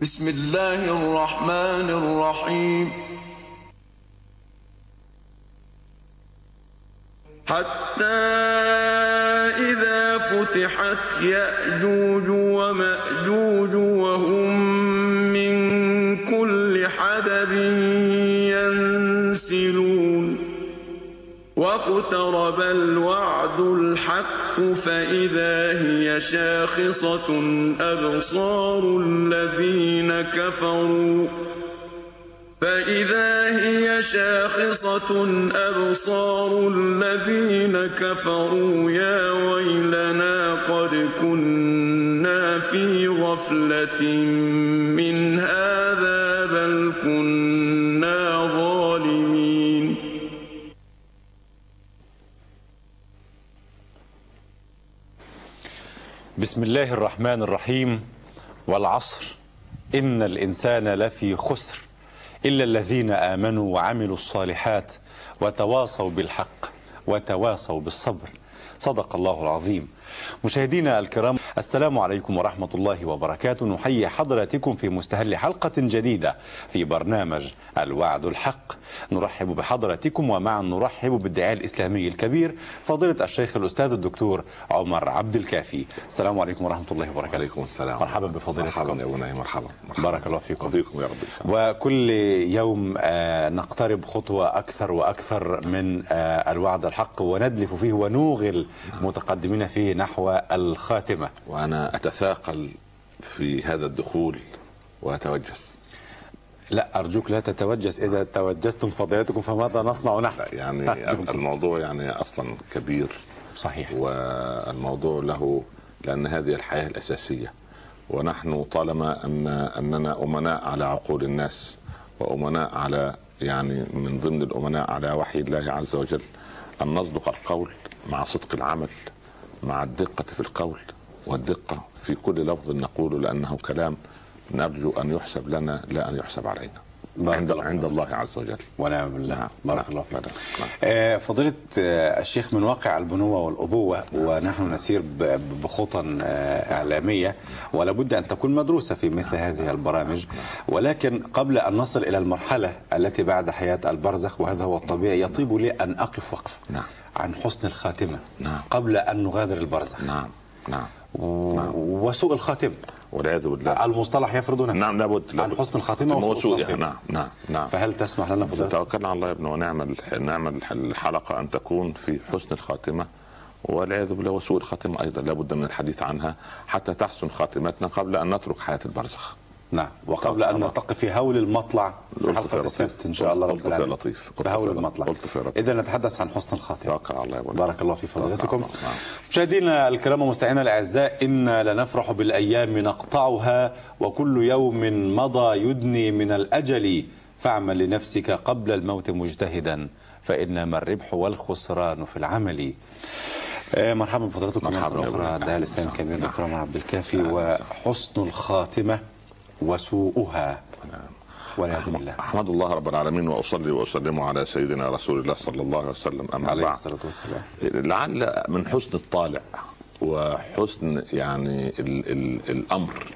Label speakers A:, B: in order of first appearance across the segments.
A: بسم الله الرحمن الرحيم حتى إذا فتحت يأجوج ومأجوج وهم من كل حدب ينسلون واقترب الوعد الحق فإذا هي شاخصة أبصار الذين كفروا فإذا هي شاخصة أبصار الذين كفروا يا ويلنا قد كنا في غفلة من هذا بل كنا ظالمين
B: بسم الله الرحمن الرحيم والعصر إن الإنسان لفي خسر إلا الذين آمنوا وعملوا الصالحات وتواصوا بالحق وتواصوا بالصبر صدق الله العظيم مشاهدينا الكرام السلام عليكم ورحمة الله وبركاته نحيي حضراتكم في مستهل حلقة جديدة في برنامج الوعد الحق نرحب بحضراتكم ومعا نرحب بالداعية الإسلامي الكبير فضيلة الشيخ الأستاذ الدكتور عمر عبد الكافي السلام عليكم ورحمة الله وبركاته
C: عليكم السلام
B: مرحبا بفضيلتكم
C: مرحبا يا بني مرحبا مرحبا
B: بارك الله فيكم
C: وفيكم يا رب ان شاء الله
B: وكل يوم آه، نقترب خطوة أكثر وأكثر من آه، الوعد الحق وندلف فيه ونوغل متقدمين فيه نحو الخاتمة
C: وانا اتثاقل في هذا الدخول واتوجس
B: لا أرجوك لا تتوجس إذا توجستم فضيلتكم فماذا نصنع نحن
C: لا، يعني الموضوع يعني اصلا كبير
B: صحيح
C: والموضوع له لان هذه الحياه الاساسيه ونحن طالما ان اننا امناء على عقول الناس وامناء على يعني من ضمن الامناء على وحي الله عز وجل ان نصدق القول مع صدق العمل مع الدقه في القول والدقه في كل لفظ نقوله لانه كلام نرجو ان يحسب لنا لا ان يحسب علينا
B: بارك
C: عند
B: الله.
C: عند الله عز وجل
B: ونعم بالله
C: نعم.
B: بارك
C: نعم.
B: الله فيك
C: نعم.
B: آه، فضيلة آه، الشيخ من واقع البنوة والأبوة
C: نعم.
B: ونحن نسير ب- ب- بخطى آه، إعلامية ولا بد أن تكون مدروسة في مثل
C: نعم.
B: هذه البرامج ولكن قبل أن نصل إلى المرحلة التي بعد حياة البرزخ وهذا هو الطبيعي يطيب لي أن أقف وقفة
C: نعم.
B: عن حسن الخاتمة
C: نعم.
B: قبل أن نغادر البرزخ
C: نعم نعم
B: و- وسوء الخاتمة
C: والعياذ بالله
B: المصطلح يفرض نفسه
C: نعم لابد
B: عن
C: لابد
B: حسن الخاتمة وسوء
C: وسوء
B: الخاتمة
C: نعم نعم نعم
B: فهل تسمح لنا فضيلتك
C: توكلنا على الله يا ابن ونعم ال- نعم ال- الحلقه ان تكون في حسن الخاتمه والعياذ بالله وسوء الخاتمه ايضا لابد من الحديث عنها حتى تحسن خاتمتنا قبل ان نترك حياه البرزخ.
B: نعم وقبل أن
C: طبعاً.
B: نلتقي في هول المطلع في
C: قلت
B: حلقة
C: يا لطيف.
B: السبت إن شاء الله
C: قلت
B: رب
C: يا
B: العالمين.
C: لطيف. قلت
B: في
C: يا
B: هول
C: لطيف.
B: المطلع
C: قلت يا لطيف.
B: إذا نتحدث عن حسن الخاتمة
C: توكل على الله يا ابن
B: بارك الله في فضيلتكم
C: توكل على الله. نعم.
B: مشاهدينا الكرام ومستمعينا الأعزاء إنا لنفرح بالأيام نقطعها وكل يوم مضى يدني من الأجل فاعمل لنفسك قبل الموت مجتهدا فإنما الربح والخسران في العمل آه، مرحبا بفضلاتكم
C: مرحبا
B: مرحبا
C: يا
B: أخرى
C: أبو
B: الداعي الإسلامي
C: نعم.
B: الكبير دكتور عمر عبد الكافي
C: نعم.
B: وحسن الخاتمة وسوءها والعياذ بالله
C: احمد الله رب العالمين واصلي واسلم على سيدنا رسول الله صلى الله عليه وسلم اما
B: عليه
C: بعد
B: الصلاة والسلام
C: لعل من حسن الطالع وحسن يعني ال ال الامر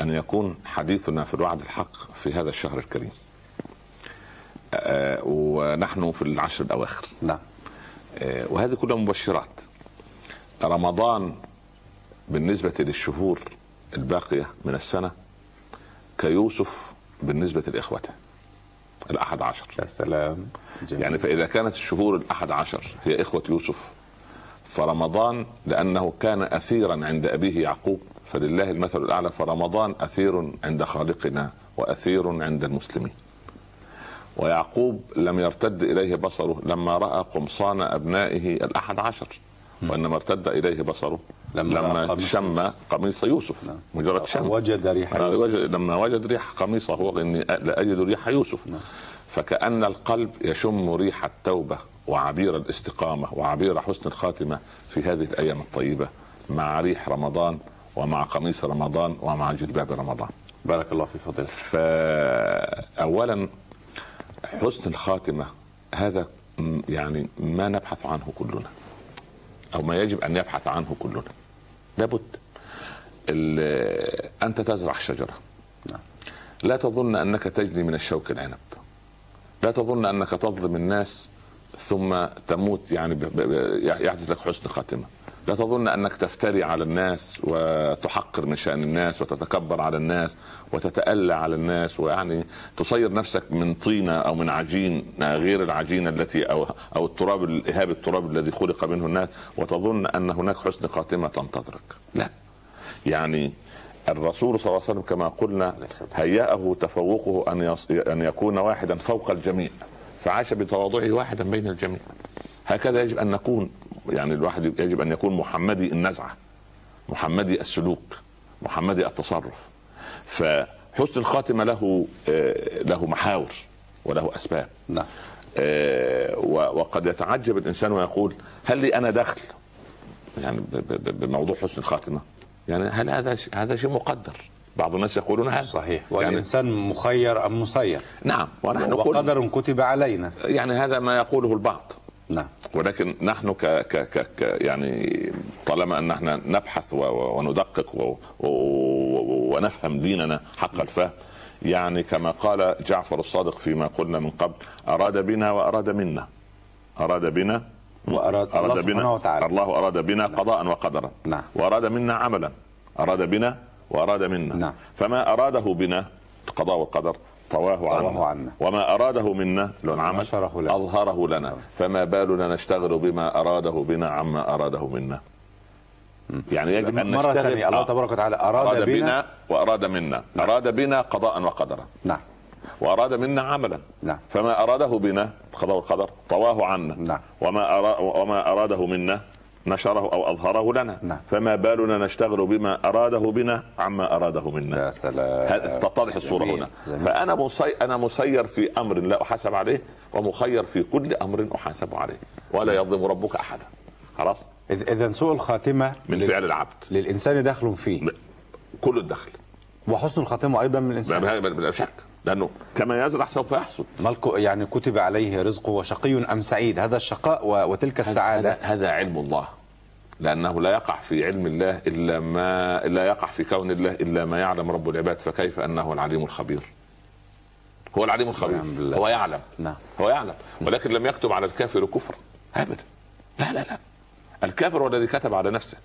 C: ان يكون حديثنا في الوعد الحق في هذا الشهر الكريم. آه، ونحن في العشر الاواخر
B: نعم
C: آه، وهذه كلها مبشرات. رمضان بالنسبه للشهور الباقيه من السنه كيوسف بالنسبه لاخوته. الاحد عشر.
B: يا سلام جميل.
C: يعني فإذا كانت الشهور الأحد عشر هي إخوة يوسف فرمضان لأنه كان أثيرا عند أبيه يعقوب فلله المثل الأعلى فرمضان أثير عند خالقنا وأثير عند المسلمين ويعقوب لم يرتد إليه بصره لما رأى قمصان أبنائه الأحد عشر وإنما ارتد إليه بصره
B: لما
C: لما,
B: رأى
C: لما
B: قميص
C: شم
B: يوسف.
C: قميص يوسف
B: نعم.
C: مجرد شم
B: وجد ريح
C: أنا
B: يوسف.
C: وجد لما وجد ريح قميصه هو اني لا اجد ريح يوسف
B: نعم.
C: فكأن القلب يشم ريح التوبة وعبير الاستقامة وعبير حسن الخاتمة في هذه الأيام الطيبة مع ريح رمضان ومع قميص رمضان ومع جلباب رمضان
B: بارك الله في فضيلتك
C: فأولا حسن الخاتمة هذا م- يعني ما نبحث عنه كلنا أو ما يجب أن يبحث عنه كلنا لابد ال- أنت تزرع شجرة
B: نعم.
C: لا تظن انك تجني من الشوك العنب لا تظن انك تظلم الناس ثم تموت يعني ب- ب- ب- يحدث لك حسن خاتمه لا تظن انك تفتري على الناس وتحقر من شان الناس وتتكبر على الناس وتتألى على الناس ويعني تصير نفسك من طينه او من عجين غير العجينه التي او او التراب الاهاب التراب الذي خلق منه الناس وتظن ان هناك حسن خاتمه تنتظرك لا يعني الرسول صلى الله عليه وسلم كما قلنا هيأه تفوقه ان يص... ان يكون واحدا فوق الجميع فعاش بتواضعه واحدا بين الجميع هكذا يجب ان نكون يعني الواحد يجب ان يكون محمدي النزعه محمدي السلوك محمدي التصرف فحسن الخاتمه له آه، له محاور وله اسباب
B: نعم
C: آه، و- وقد يتعجب الانسان ويقول هل لي انا دخل يعني ب- ب- ب- بموضوع حسن الخاتمه يعني هل هذا ش- هذا شيء مقدر بعض الناس يقولون هذا
B: صحيح
C: يعني
B: والإنسان مخير أم مسير
C: نعم ونحن قلنا
B: وقدر كتب علينا
C: يعني هذا ما يقوله البعض
B: نعم
C: ولكن نحن ك... ك... ك... ك... يعني طالما ان احنا نبحث و... و- وندقق و... و... و... ونفهم ديننا حق الفهم يعني كما قال جعفر الصادق فيما قلنا من قبل اراد بنا واراد منا اراد بنا
B: وأراد الله
C: أراد
B: سبحانه
C: بنا
B: وتعالى.
C: الله أراد بنا قضاء وقدرا
B: نعم.
C: وأراد منا عملا أراد بنا وأراد منا
B: نعم.
C: فما أراده بنا القضاء والقدر طواه عنا.
B: طواه عنا.
C: وما أراده منا لو العمل
B: نشره لنا. نعم.
C: أظهره لنا فما بالنا نشتغل بما أراده بنا عما أراده منا يعني يجب أن
B: مرة
C: نشتغل
B: ثانية الله
C: آه.
B: تبارك وتعالى نعم. أراد بنا
C: وأراد منا أراد بنا قضاء وقدرا
B: نعم
C: وأراد منا عملا
B: نعم.
C: فما أراده بنا القضاء والقدر طواه عنا
B: نعم.
C: وما, أرا وما أراده منا نشره أو أظهره لنا
B: نعم.
C: فما بالنا نشتغل بما أراده بنا عما أراده
B: يا
C: منا
B: سلام
C: نعم. هذا تتضح الصورة
B: آه، جميل،
C: هنا
B: جميل.
C: فأنا مسي... أنا مسير في أمر لا أحاسب عليه ومخير في كل أمر أحاسب عليه ولا يظلم ربك أحدا خلاص
B: إذ- إذا سوء الخاتمة
C: من
B: لل-
C: فعل نعم. العبد
B: للإنسان دخل فيه
C: ب- كل الدخل
B: وحسن الخاتمة أيضا من
C: لا-
B: الإنسان
C: لا بلا شك لأنه كما يزرع سوف يحصد
B: ملكه يعني كتب عليه رزقه شقي أم سعيد هذا الشقاء و- وتلك
C: هذا
B: السعادة
C: هذا علم الله لأنه لا يقع في علم الله إلا ما لا يقع في كون الله إلا ما يعلم رب العباد فكيف أنه العليم الخبير هو العليم الخبير
B: والعياذ بالله.
C: هو يعلم
B: نعم.
C: هو يعلم ولكن لم يكتب على الكافر كفرا أبدا لا لا لا الكافر هو الذي كتب على نفسه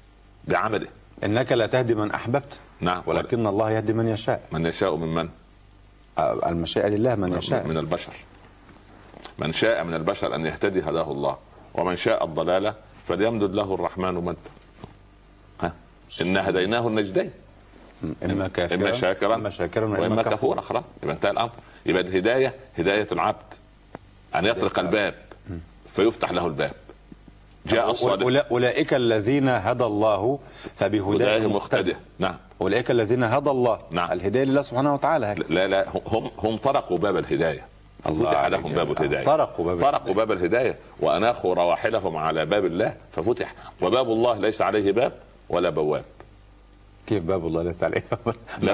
C: بعمله
B: إنك لا تهدي من أحببت
C: نعم ولكن
B: ولكن الله يهدي من يشاء
C: من يشاء ممن
B: آه، المشيئة لله من يشاء
C: من البشر من شاء من البشر أن يهتدي هداه الله ومن شاء الضلالة فليمدد له الرحمن مدا ها إن هديناه النجدين
B: إما كافرا
C: إما شاكرا
B: إما شاكرا
C: وإما كفورا خلاص يبقى انتهى الأمر يبقى الهداية هداية العبد أن يطرق الباب فيفتح له الباب جاء الصادق
B: أولا- أولئك الذين هدى الله
C: هداه
B: فبهداه
C: مقتدى
B: مقتدى
C: نعم
B: أولئك الذين هدى الله
C: نعم.
B: الهداية لله سبحانه وتعالى
C: لا لا هم هم طرقوا باب الهدايه
B: الله
C: فتح
B: عليك
C: لهم
B: يا
C: باب
B: جماعة.
C: الهدايه
B: طرقوا باب
C: طرقوا باب الهدايه واناخوا رواحلهم على باب الله ففتح وباب الله ليس عليه باب ولا بواب
B: كيف باب الله ليس عليه
C: لا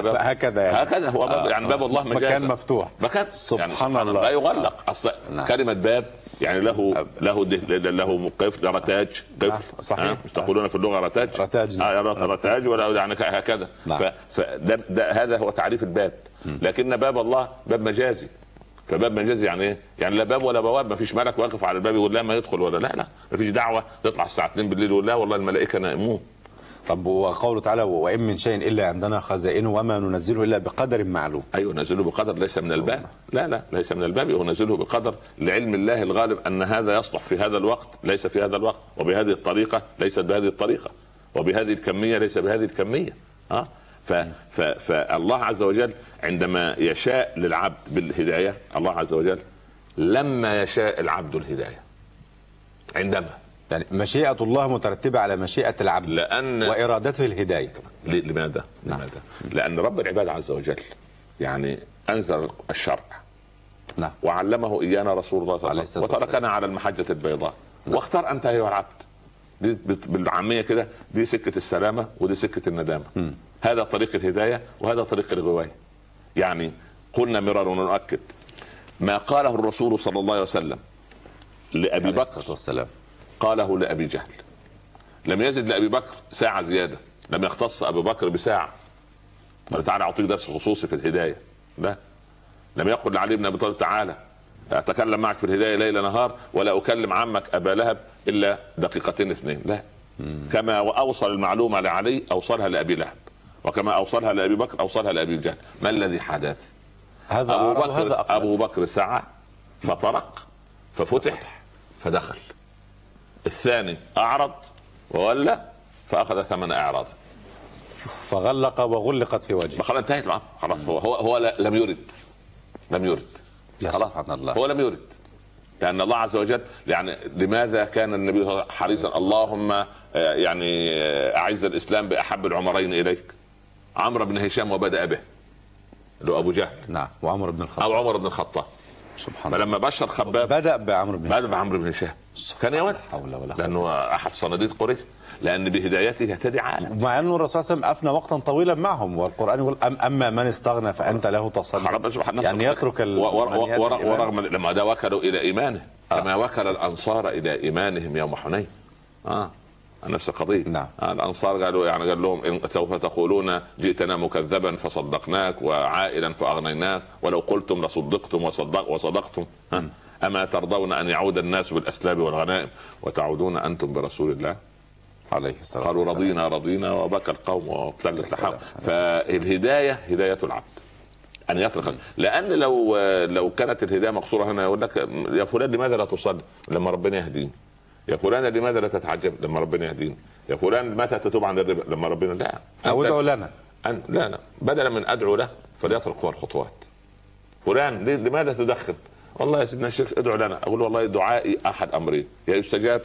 C: باب
B: هكذا يعني
C: هكذا هو باب
B: آه،
C: يعني باب الله مجازا
B: مكان مفتوح
C: مكان
B: سبحان الله.
C: يعني لا يغلق اصلا
B: نعم.
C: كلمه باب يعني له له ده- له قفل رتاج
B: نعم،
C: قفل
B: صحيح.
C: آه، مش تقولون في اللغه رتاج
B: رتاج، نعم.
C: آه رت- رتاج ولا يعني ك- هكذا
B: نعم.
C: ف- فده ده- هذا هو تعريف الباب لكن باب الله باب مجازي فباب مجازي يعني ايه؟ يعني لا باب ولا بواب ما فيش ملك واقف على الباب يقول لا ما يدخل ولا لا لا ما فيش دعوه تطلع الساعه 2 بالليل يقول لا والله الملائكه نائمون
B: طب وقوله تعالى وإن من شيء إلا عندنا خزائنه وما ننزله إلا بقدر معلوم
C: ايوه نزله بقدر ليس من الباب لا لا ليس من الباب هو نزله بقدر لعلم الله الغالب ان هذا يصلح في هذا الوقت ليس في هذا الوقت وبهذه الطريقه ليست بهذه الطريقه وبهذه الكميه ليس بهذه الكميه ها ف ف فالله عز وجل عندما يشاء للعبد بالهدايه الله عز وجل لما يشاء العبد الهدايه عندما
B: يعني مشيئة الله مترتبة على مشيئة العبد
C: لأن-
B: وإرادته الهداية
C: ليه- لماذا؟ لماذا؟ لان رب العباد عز وجل يعني انزل الشرع
B: نعم
C: وعلمه ايانا رسول الله صلى الله
B: عليه
C: عليه
B: الصلاة
C: وسلم
B: والسلام.
C: وتركنا على المحجه البيضاء واختار انت ايها العبد دي بت- بالعاميه كده دي سكه السلامه ودي سكه الندامه هذا طريق الهدايه وهذا طريق الغوايه يعني قلنا مرارا ونؤكد ما قاله الرسول صلى الله عليه وسلم لابي
B: عليه
C: بكر
B: الصلاة والسلام
C: قاله لابي جهل لم يزد لابي بكر ساعه زياده لم يختص ابو بكر بساعه قال تعالى اعطيك درس خصوصي في الهدايه لا لم يقل لعلي بن ابي طالب تعالى اتكلم معك في الهدايه ليل نهار ولا اكلم عمك ابا لهب الا دقيقتين اثنين لا كما اوصل المعلومه لعلي اوصلها لابي لهب وكما اوصلها لابي بكر اوصلها لابي جهل ما الذي حدث؟
B: هذا
C: ابو
B: أعرض وهذا
C: بكر
B: أقرب.
C: ابو بكر سعى فطرق ففتح فدخل الثاني اعرض وولى فاخذ ثمن اعراض
B: فغلق وغلقت في وجهه
C: خلاص انتهت معاه خلاص هو هو, هو لا- لم يرد لم يرد
B: يا
C: خلاص.
B: سبحان الله.
C: هو لم يرد لان الله عز وجل يعني لماذا كان النبي صلى الله عليه وسلم حريصا اللهم آه، يعني آه، اعز الاسلام باحب العمرين اليك عمرو بن هشام وبدا به اللي هو ابو جهل
B: نعم وعمر بن الخطاب
C: او عمر بن الخطاب
B: سبحان الله
C: فلما بشر خباب
B: بدأ بعمر بن
C: ماذا بعمرو بن هشام؟ كان يود
B: حول ولا قوة.
C: لانه احد صناديق قريش لان بهدايته يهتدي عالم
B: مع انه الرسول صلى الله عليه وسلم افنى وقتا طويلا معهم والقران يقول أم اما من استغنى فانت له تصدى
C: خلاص سبحان
B: يعني يترك ال- المنيات والإيمان.
C: ورغم لما ده وكلوا الى ايمانه
B: آه.
C: كما وكل الانصار الى ايمانهم يوم حنين اه نفس القضيه
B: نعم.
C: آه الانصار قالوا يعني قال لهم إن سوف تقولون جئتنا مكذبا فصدقناك وعائلا فاغنيناك ولو قلتم لصدقتم وصدق وصدقتم ها؟ اما ترضون ان يعود الناس بالاسلاب والغنائم وتعودون انتم برسول الله
B: عليه الصلاه
C: قالوا
B: والسلام.
C: رضينا رضينا وبكى القوم وابتلت
B: السلام.
C: لحم فالهدايه هدايه العبد ان يترك لان لو لو كانت الهدايه مقصوره هنا يقول لك يا فلان لماذا لا تصلي لما ربنا يهديني يا فلان لماذا لا تتعجب لما ربنا يهديني يا فلان متى تتوب عن الربا لما ربنا لا
B: او
C: أنت-
B: ادعوا لنا
C: أن لا لا بدلا من ادعو له فليترك هو الخطوات فلان ليه- لماذا تدخن؟ والله يا سيدنا الشيخ ادعو لنا اقول والله دعائي احد امرين يا يستجاب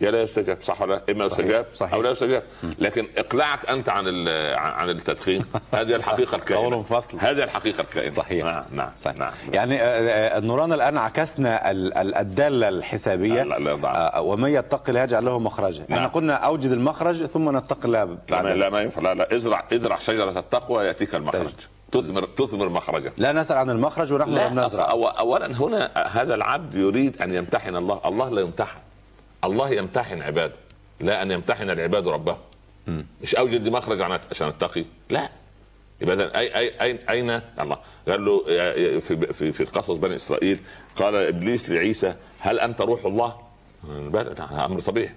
C: يا لا يستجاب صح ولا لا؟ اما
B: صحيح،
C: يستجاب
B: صحيح.
C: او لا يستجاب لكن اقلاعك انت عن ال- عن عن التدخين هذه الحقيقه
B: قول
C: الكائنه
B: فصل.
C: هذه الحقيقه الكائنه
B: صحيح.
C: نعم نعم
B: صحيح.
C: نعم
B: يعني آه، آه، نورانا الان عكسنا ال- ال- الداله الحسابيه
C: لا، لا، لا.
B: آه، ومن يتق الله يجعل له مخرجا احنا قلنا اوجد المخرج ثم نتق الله
C: لا
B: بعد طيب.
C: ما- لا ما ينفع لا لا ازرع ازرع شجره التقوى ياتيك المخرج تثمر تثمر مخرجك
B: لا نسال عن المخرج ونحن
C: لا
B: لم
C: أصل
B: نزرع
C: أو اولا هنا هذا العبد يريد ان يمتحن الله الله لا يمتحن الله يمتحن عباده لا ان يمتحن العباد ربهم مش اوجد لي مخرج عن- عشان اتقي لا يبقى إذن اي اي اين اين الله قال له يا- في في في قصص بني اسرائيل قال ابليس لعيسى هل انت روح الله؟ بلى نعم، امر طبيعي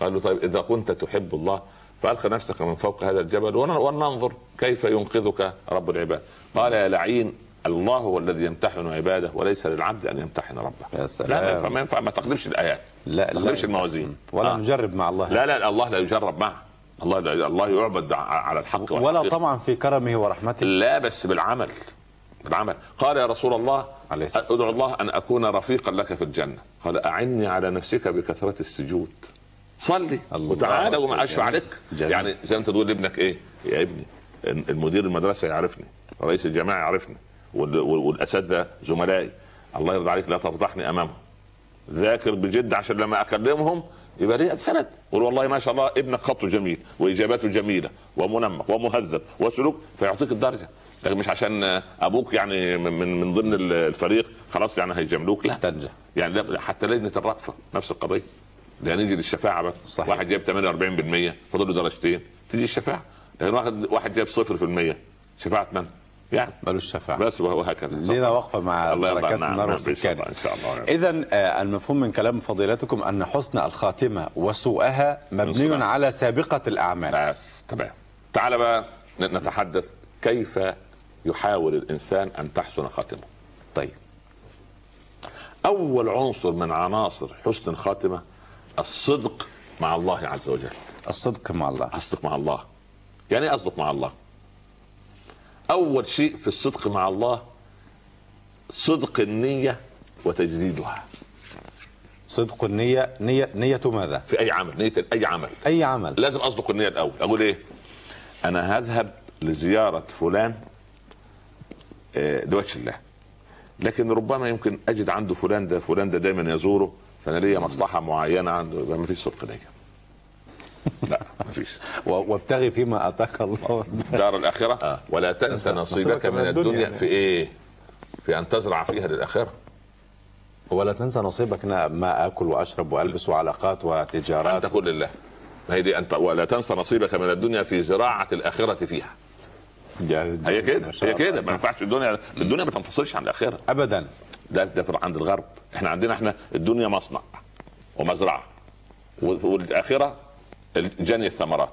C: قال له طيب اذا كنت تحب الله فالق نفسك من فوق هذا الجبل ون- ولننظر كيف ينقذك رب العباد قال يا لعين الله هو الذي يمتحن عباده وليس للعبد ان يمتحن ربه
B: يا
C: لا
B: سلام.
C: ما ينفع ما, ينفع ما تقلبش الايات
B: لا، لا.
C: ما تقلبش الموازين
B: ولا
C: آه.
B: نجرب مع الله
C: لا لا الله لا يجرب معه الله لا الله يعبد ع- على الحق
B: ولا
C: والحقيقة.
B: طمعا في كرمه ورحمته
C: لا بس بالعمل بالعمل قال يا رسول الله
B: عليه الصلاة
C: ادعو الله ان اكون رفيقا لك في الجنه قال اعني على نفسك بكثره السجود صلي
B: الله
C: وتعالى
B: أكبر.
C: وما اشفع
B: جميل.
C: لك
B: جميل.
C: يعني زي ما انت تقول لابنك ايه يا ابني المدير المدرسه يعرفني رئيس الجماعه يعرفني وال- وال- والاساتذه زملائي الله يرضى عليك لا تفضحني امامهم ذاكر بجد عشان لما اكلمهم يبقى ليه سند قول والله ما شاء الله ابنك خطه جميل واجاباته جميله ومنمق ومهذب وسلوك فيعطيك الدرجه لكن مش عشان ابوك يعني من من من ضمن الفريق خلاص يعني هيجاملوك لا
B: تنجح.
C: يعني لا حتى لجنه الرأفه نفس القضيه ده نيجي للشفاعه بس
B: صحيح.
C: واحد جاب 48% فاضل له درجتين تيجي الشفاعه لكن واحد واحد جاب 0% شفاعه من؟ يعني
B: ملوش شفاعه
C: بس وهكذا
B: لينا وقفه مع
C: الله يرضى
B: بركات
C: عنا. نعم،
B: النار
C: إن شاء
B: وسكانها
C: الله، إن شاء الله.
B: اذا آه، المفهوم من كلام فضيلتكم ان حسن الخاتمه وسوءها مبني
C: بالصراحة.
B: على سابقه الاعمال
C: بس آه، تمام تعال بقى ن- نتحدث كيف يحاول الانسان ان تحسن خاتمه
B: طيب
C: اول عنصر من عناصر حسن الخاتمه الصدق مع الله عز وجل
B: الصدق مع الله
C: اصدق مع الله يعني ايه اصدق مع الله اول شيء في الصدق مع الله صدق النيه وتجديدها
B: صدق النية نية نية ماذا؟
C: في اي عمل نيه اي عمل
B: أي عمل
C: لازم اصدق النيه الاول اقول ايه انا هذهب لزياره فلان آه، لوجه الله لكن ربما يمكن اجد عنده فلان ده فلان ده دايما يزوره فانا ليا مصلحه معينه عنده يبقى ما فيش صدق نيه لا ما فيش
B: و- وابتغي فيما آتاك الله
C: دار الاخره ولا تنسى نصيبك من الدنيا في ايه في ان تزرع فيها للاخره
B: ولا تنسى نصيبك أنا ما آكل وأشرب وألبس وعلاقات
C: ان
B: وتجارات
C: تكون لله ما هي دي انت ولا تنسى نصيبك من الدنيا في زراعه الاخره فيها
B: جاهز
C: هي كده هي كده ما ينفعش الدنيا الدنيا ما تنفصلش عن الاخره
B: ابدا
C: ده ده في- عند الغرب احنا عندنا احنا الدنيا مصنع ومزرعه وال- والاخره جني الثمرات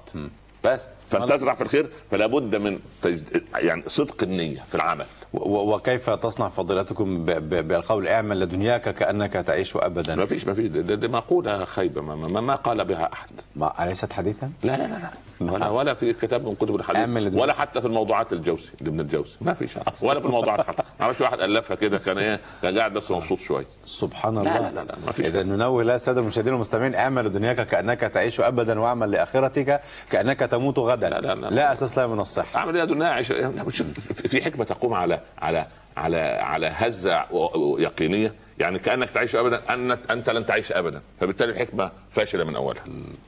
C: بس فانت
B: خلاص.
C: تزرع في الخير فلا بد من تجد يعني صدق النيه في العمل
B: و- و- وكيف تصنع فضيلتكم ب- ب- بالقول اعمل لدنياك كانك تعيش
C: ما
B: ابدا
C: فيش ما فيش دي دي مقوله خيبه ما, ما, ما قال بها احد
B: ما اليست حديثا؟
C: لا لا لا لا ولا ولا في كتاب من كتب
B: أعمل
C: الحديث
B: دماغ.
C: ولا حتى في الموضوعات الجوسي لابن الجوسي ما فيش ولا في الموضوعات حتى ما اعرفش واحد الفها كده كان ايه كان قاعد بس مبسوط شويه
B: سبحان
C: لا،
B: الله
C: لا، لا، لا، ما فيش
B: اذا ننوه لا الساده المشاهدين والمستمعين اعمل لدنياك كانك تعيش ابدا واعمل لاخرتك كانك تموت غدا
C: لا، لا، لا.
B: لا اساس لها من الصحه
C: اعمل ايه يا دنيا عيش لا، شوف، في في حكمه تقوم على على على على هزه و- و- يقينيه يعني كانك تعيش ابدا انك انت لن تعيش ابدا فبالتالي الحكمه فاشله من اولها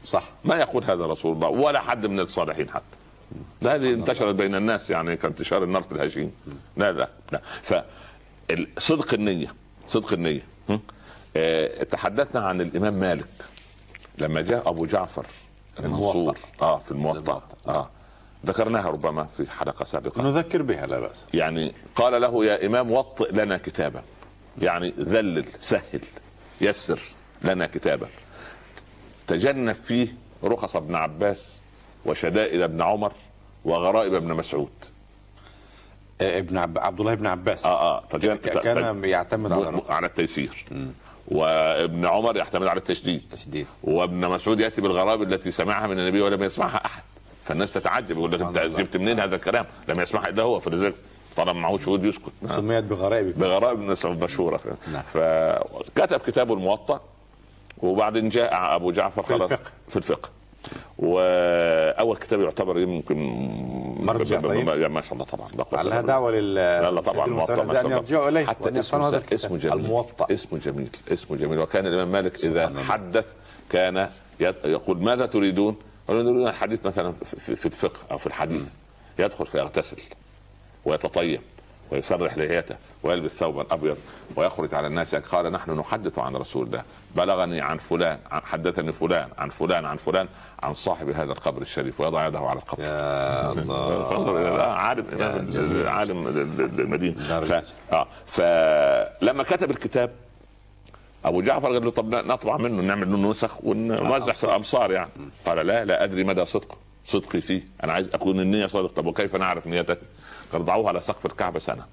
B: صح
C: ما يقول هذا رسول الله ولا حد من الصالحين حتى ده هذه انتشرت بين الناس يعني كانتشار النار في الهشيم لا لا لا فصدق النية صدق النية هم؟ آه، تحدثنا عن الإمام مالك لما جاء أبو جعفر المنصور اه في الموطأ اه ذكرناها ربما في حلقة سابقة
B: نذكر بها لا باس
C: يعني قال له يا إمام وطئ لنا كتابا يعني ذلل سهل يسر لنا كتابا تجنب فيه رخص ابن عباس وشدائد ابن عمر وغرائب ابن مسعود إيه،
B: آه، ابن عب... عبد الله بن عباس
C: اه اه تجنب
B: ك- كان يعتمد على الرأي.
C: على التيسير وابن عمر يعتمد على التشديد
B: تشديد
C: وابن مسعود ياتي بالغرائب التي سمعها من النبي ولم يسمعها احد فالناس تتعجب يقول لك انت
B: سبحان الله.
C: جبت منين هذا الكلام لم يسمعها الا هو فلذلك طالما معهوش شهود يسكت
B: آه. سميت بغرائب
C: بغرائب الناس المشهوره
B: نعم.
C: فكتب كتابه الموطأ وبعدين جاء ابو جعفر
B: في
C: خلاص-
B: الفقه.
C: في الفقه واول كتاب يعتبر يمكن
B: مرجع طيب.
C: طيب. ما شاء الله طبعا لا قوة إلا
B: عليها
C: بالله.
B: دعوه لل يعني
C: لا لا طبعا الموطأ ما شاء
B: ان
C: الله.
B: يرجعوا اليه وأن
C: حتى
B: يفهموا
C: اسمه,
B: هذا
C: ز- اسمه
B: الكتاب.
C: جميل
B: يعني الموطأ
C: اسمه جميل اسمه جميل وكان الامام مالك
B: سبحان
C: اذا
B: الله.
C: حدث كان يد- يقول ماذا تريدون؟ قالوا نريد الحديث مثلا في- في في الفقه او في الحديث يدخل فيغتسل ويتطيب ويسرح لحيته ويلبس ثوبا ابيض ويخرج على الناس يعني، قال نحن نحدث عن رسول الله بلغني عن فلان عن حدثني فلان عن فلان عن فلان عن صاحب هذا القبر الشريف ويضع يده على القبر
B: يا الله
C: فانظر الى الآن عالم إمام
B: جميل.
C: عالم المدينه
B: درجة.
C: ف... اه فلما كتب الكتاب ابو جعفر قال له طب نطبع منه نعمل منه نسخ ونوزع في الامصار يعني قال لا لا ادري مدى صدقه صدقي فيه انا عايز اكون النيه صادق طب وكيف نعرف نيتك؟ قال ضعوه على سقف الكعبه سنه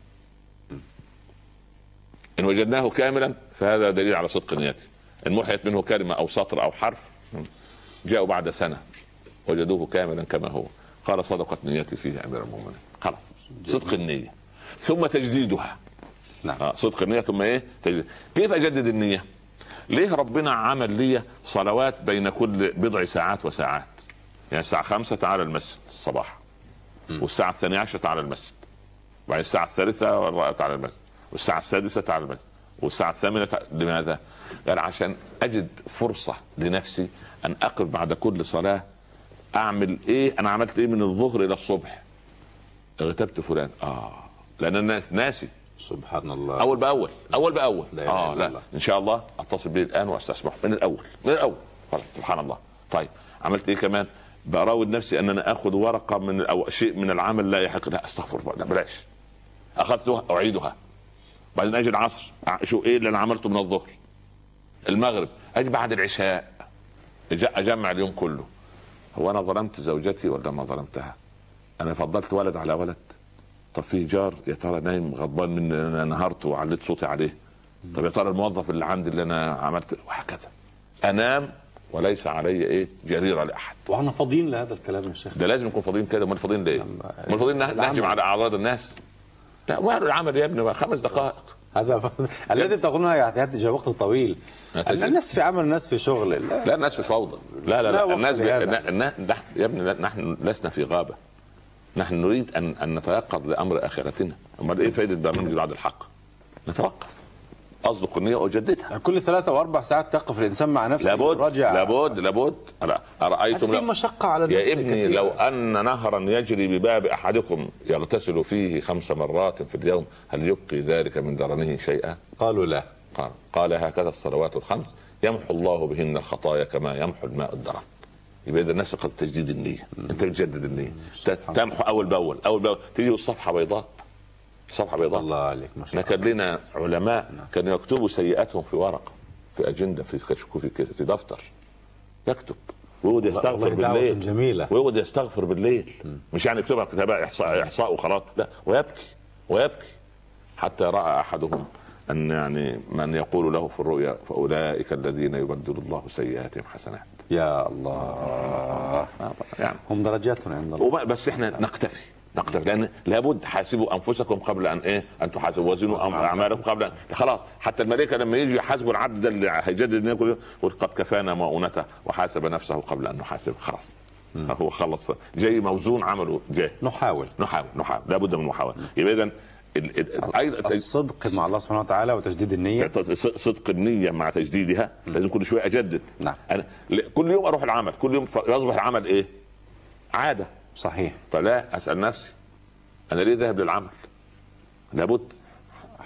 C: ان وجدناه كاملا فهذا دليل على صدق نيته ان محيت منه كلمه او سطر او حرف جاءوا بعد سنه وجدوه كاملا كما هو قال صدقت نيتي فيه يا امير المؤمنين خلاص صدق النيه ثم تجديدها
B: نعم
C: آه، صدق النية ثم ايه؟ تجديد. كيف اجدد النية؟ ليه ربنا عمل لي صلوات بين كل بضع ساعات وساعات؟ يعني الساعة خمسة تعالى المسجد صباحا والساعة الثانية عشرة تعالى المسجد وبعدين الساعة الثالثة والرابعة تعالى المسجد والساعة السادسة تعالى المسجد والساعة الثامنة تعالى... لماذا؟ قال عشان أجد فرصة لنفسي أن أقف بعد كل صلاة أعمل إيه؟ أنا عملت إيه من الظهر إلى الصبح؟ اغتبت فلان آه لأن الناس ناسي
B: سبحان الله
C: اول باول اول باول
B: لا إله
C: اه
B: إلا
C: لا
B: الله.
C: ان شاء الله اتصل بيه الان واستسمحه من الاول من الاول خلاص، سبحان الله طيب عملت ايه كمان براود نفسي ان انا اخذ ورقه من او شيء من العمل لا يحق لا استغفر الله لا، بلاش اخذتها اعيدها بعدين اجي العصر شو ايه اللي انا عملته من الظهر المغرب اجي بعد العشاء أج- اجمع اليوم كله هو انا ظلمت زوجتي ولا ما ظلمتها انا فضلت ولد على ولد طب في جار يا ترى نايم غضبان مني إن انا نهرته وعليت صوتي عليه طب يا ترى الموظف اللي عندي اللي انا عملت وهكذا انام وليس علي ايه جريره لاحد
B: واحنا فاضيين لهذا الكلام يا شيخ
C: ده لازم نكون فاضيين كده امال فاضيين ليه؟ امال فاضيين نه-
B: العمل.
C: نهجم على اعراض الناس لا وقالوا العمل يا ابني خمس دقائق
B: هذا ف- الذي يعني تقولونه يحتاج وقت طويل
C: نتيجة.
B: الناس في عمل الناس في شغل لا.
C: لا الناس في فوضى لا لا
B: لا
C: لا,
B: وقت
C: الناس بي...
B: لهذا.
C: نا- نا- نح... يا ابني لا، نحن لسنا في غابه نحن نريد ان ان نتيقظ لامر اخرتنا امال ايه فائده برنامج بعد الحق؟ نتوقف اصدق النيه واجددها
B: كل ثلاثة وأربع ساعات تقف الإنسان مع نفسه
C: لابد
B: راجع
C: لابد لابد لا
B: حتى
C: ارايتم
B: في مشقة على النفس
C: يا ابني
B: كثيرة.
C: لو ان نهرا يجري بباب احدكم يغتسل فيه خمس مرات في اليوم هل يبقي ذلك من درنه شيئا؟
B: قالوا لا
C: قال قال هكذا الصلوات الخمس يمحو الله بهن الخطايا كما يمحو الماء الدرن يبقى ده نسق تجديد النيه انت بتجدد النيه ت- تمحو اول باول اول باول تيجي والصفحه بيضاء صفحه بيضاء
B: الله عليك ما
C: احنا
B: شاء
C: كان لنا
B: نعم.
C: علماء كانوا يكتبوا سيئاتهم في ورقه في اجنده في كشكو في كده- في دفتر يكتب ويقعد يستغفر
B: والله دعوة
C: بالليل
B: جميلة.
C: ويقعد يستغفر بالليل مش يعني يكتبها كتابة احصاء احصاء وخلاص لا ويبكي ويبكي حتى راى احدهم ان يعني من يقول له في الرؤيا فاولئك الذين يبدل الله سيئاتهم حسنات
B: الله يا الله
C: آه طبعاً، يعني
B: هم درجات عند الله
C: وما- بس احنا نقتفي نقتفي لان لابد حاسبوا انفسكم قبل ان ايه ان تحاسبوا وزنوا أم- اعمالكم قبل ان خلاص حتى الملائكه لما يجوا يحاسبوا العبد ده اللي هيجدد الدنيا كله، يقول قد كفانا مؤونته وحاسب نفسه قبل ان نحاسب خلاص هو خلص جاي موزون عمله جاهز
B: نحاول
C: نحاول نحاول لابد من المحاوله يبقى اذا ال- ال- ايضا تج-
B: الصدق مع الله سبحانه وتعالى وتجديد النية
C: ص- صدق النيه مع تجديدها لازم كل شويه اجدد
B: نعم.
C: انا ل- كل يوم اروح العمل كل يوم ف- يصبح العمل ايه عاده
B: صحيح
C: فلا اسال نفسي انا ليه ذاهب للعمل؟ لابد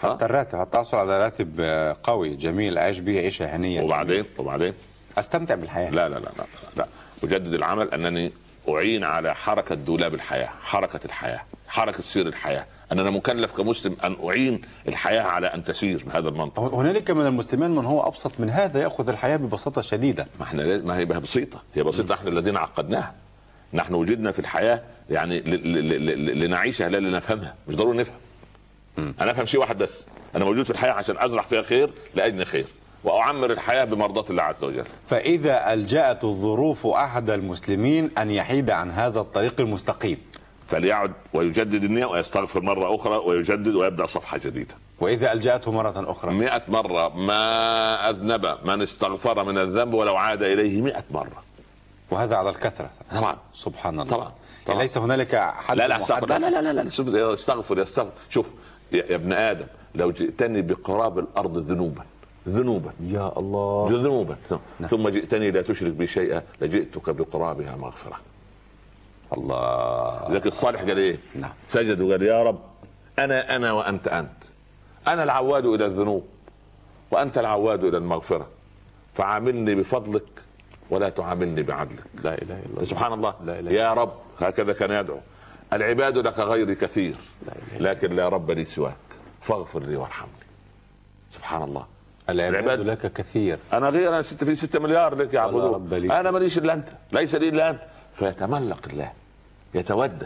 B: حتى الراتب هتحصل على راتب آه، قوي جميل أعيش بيه عيشة هنية
C: وبعدين وبعدين
B: أستمتع بالحياة
C: لا لا لا لا, لا. اجدد العمل انني اعين على حركه دولاب الحياه، حركه الحياه، حركه سير الحياه، ان انا مكلف كمسلم ان اعين الحياه على ان تسير بهذا المنطق.
B: هنالك من المسلمين من هو أبسط من هذا يأخذ الحياة ببساطة شديدة
C: ما احنا لاز- ما هي ما هي بسيطه، هي بسيطه احنا الذين عقدناها. نحن وجدنا في الحياه يعني ل- ل- ل- ل- لنعيشها لا لنفهمها، مش ضروري نفهم. انا افهم شيء واحد بس انا موجود في الحياه عشان ازرع فيها خير لاجل خير واعمر الحياه بمرضات الله عز وجل
B: فإذا ألجأت الظروف أحد المسلمين أن يحيد عن هذا الطريق المستقيم
C: فليعد ويجدد النيه ويستغفر مره اخرى ويجدد ويبدا صفحه جديده
B: وإذا ألجأته مرة أخرى
C: مئة مرة ما أذنب من استغفر من الذنب ولو عاد إليه مئة مرة
B: وهذا على الكثرة
C: طبعا
B: سبحان الله
C: طبعا. طبعاً.
B: ليس هنالك حد
C: لا لا
B: محدد.
C: استغفر لا لا لا لا, لا. شوف استغفر استغفر شوف يا يا ابن آدم لو جئتني بقراب الأرض ذنوبا ذنوبا
B: يا الله نعم.
C: ذنوبا نعم. ثم جئتني لا تشرك بي شيئا لجئتك بقرابها مغفرة
B: الله
C: لكن الصالح قال ايه؟
B: نعم.
C: سجد وقال يا رب انا انا وانت انت. انا العواد الى الذنوب وانت العواد الى المغفره. فعاملني بفضلك ولا تعاملني بعدلك.
B: لا اله الا الله
C: سبحان الله
B: لا إله
C: يا رب هكذا كان يدعو. العباد لك غيري كثير
B: لا إله إلا
C: لكن لا رب لي سواك فاغفر لي وارحمني. سبحان الله
B: العباد
C: العباد-
B: لك كثير
C: انا غير انا ست في ستة مليار لك
B: رب
C: يعبدون
B: لي.
C: انا ماليش الا انت ليس لي الا انت فيتملق الله يتودد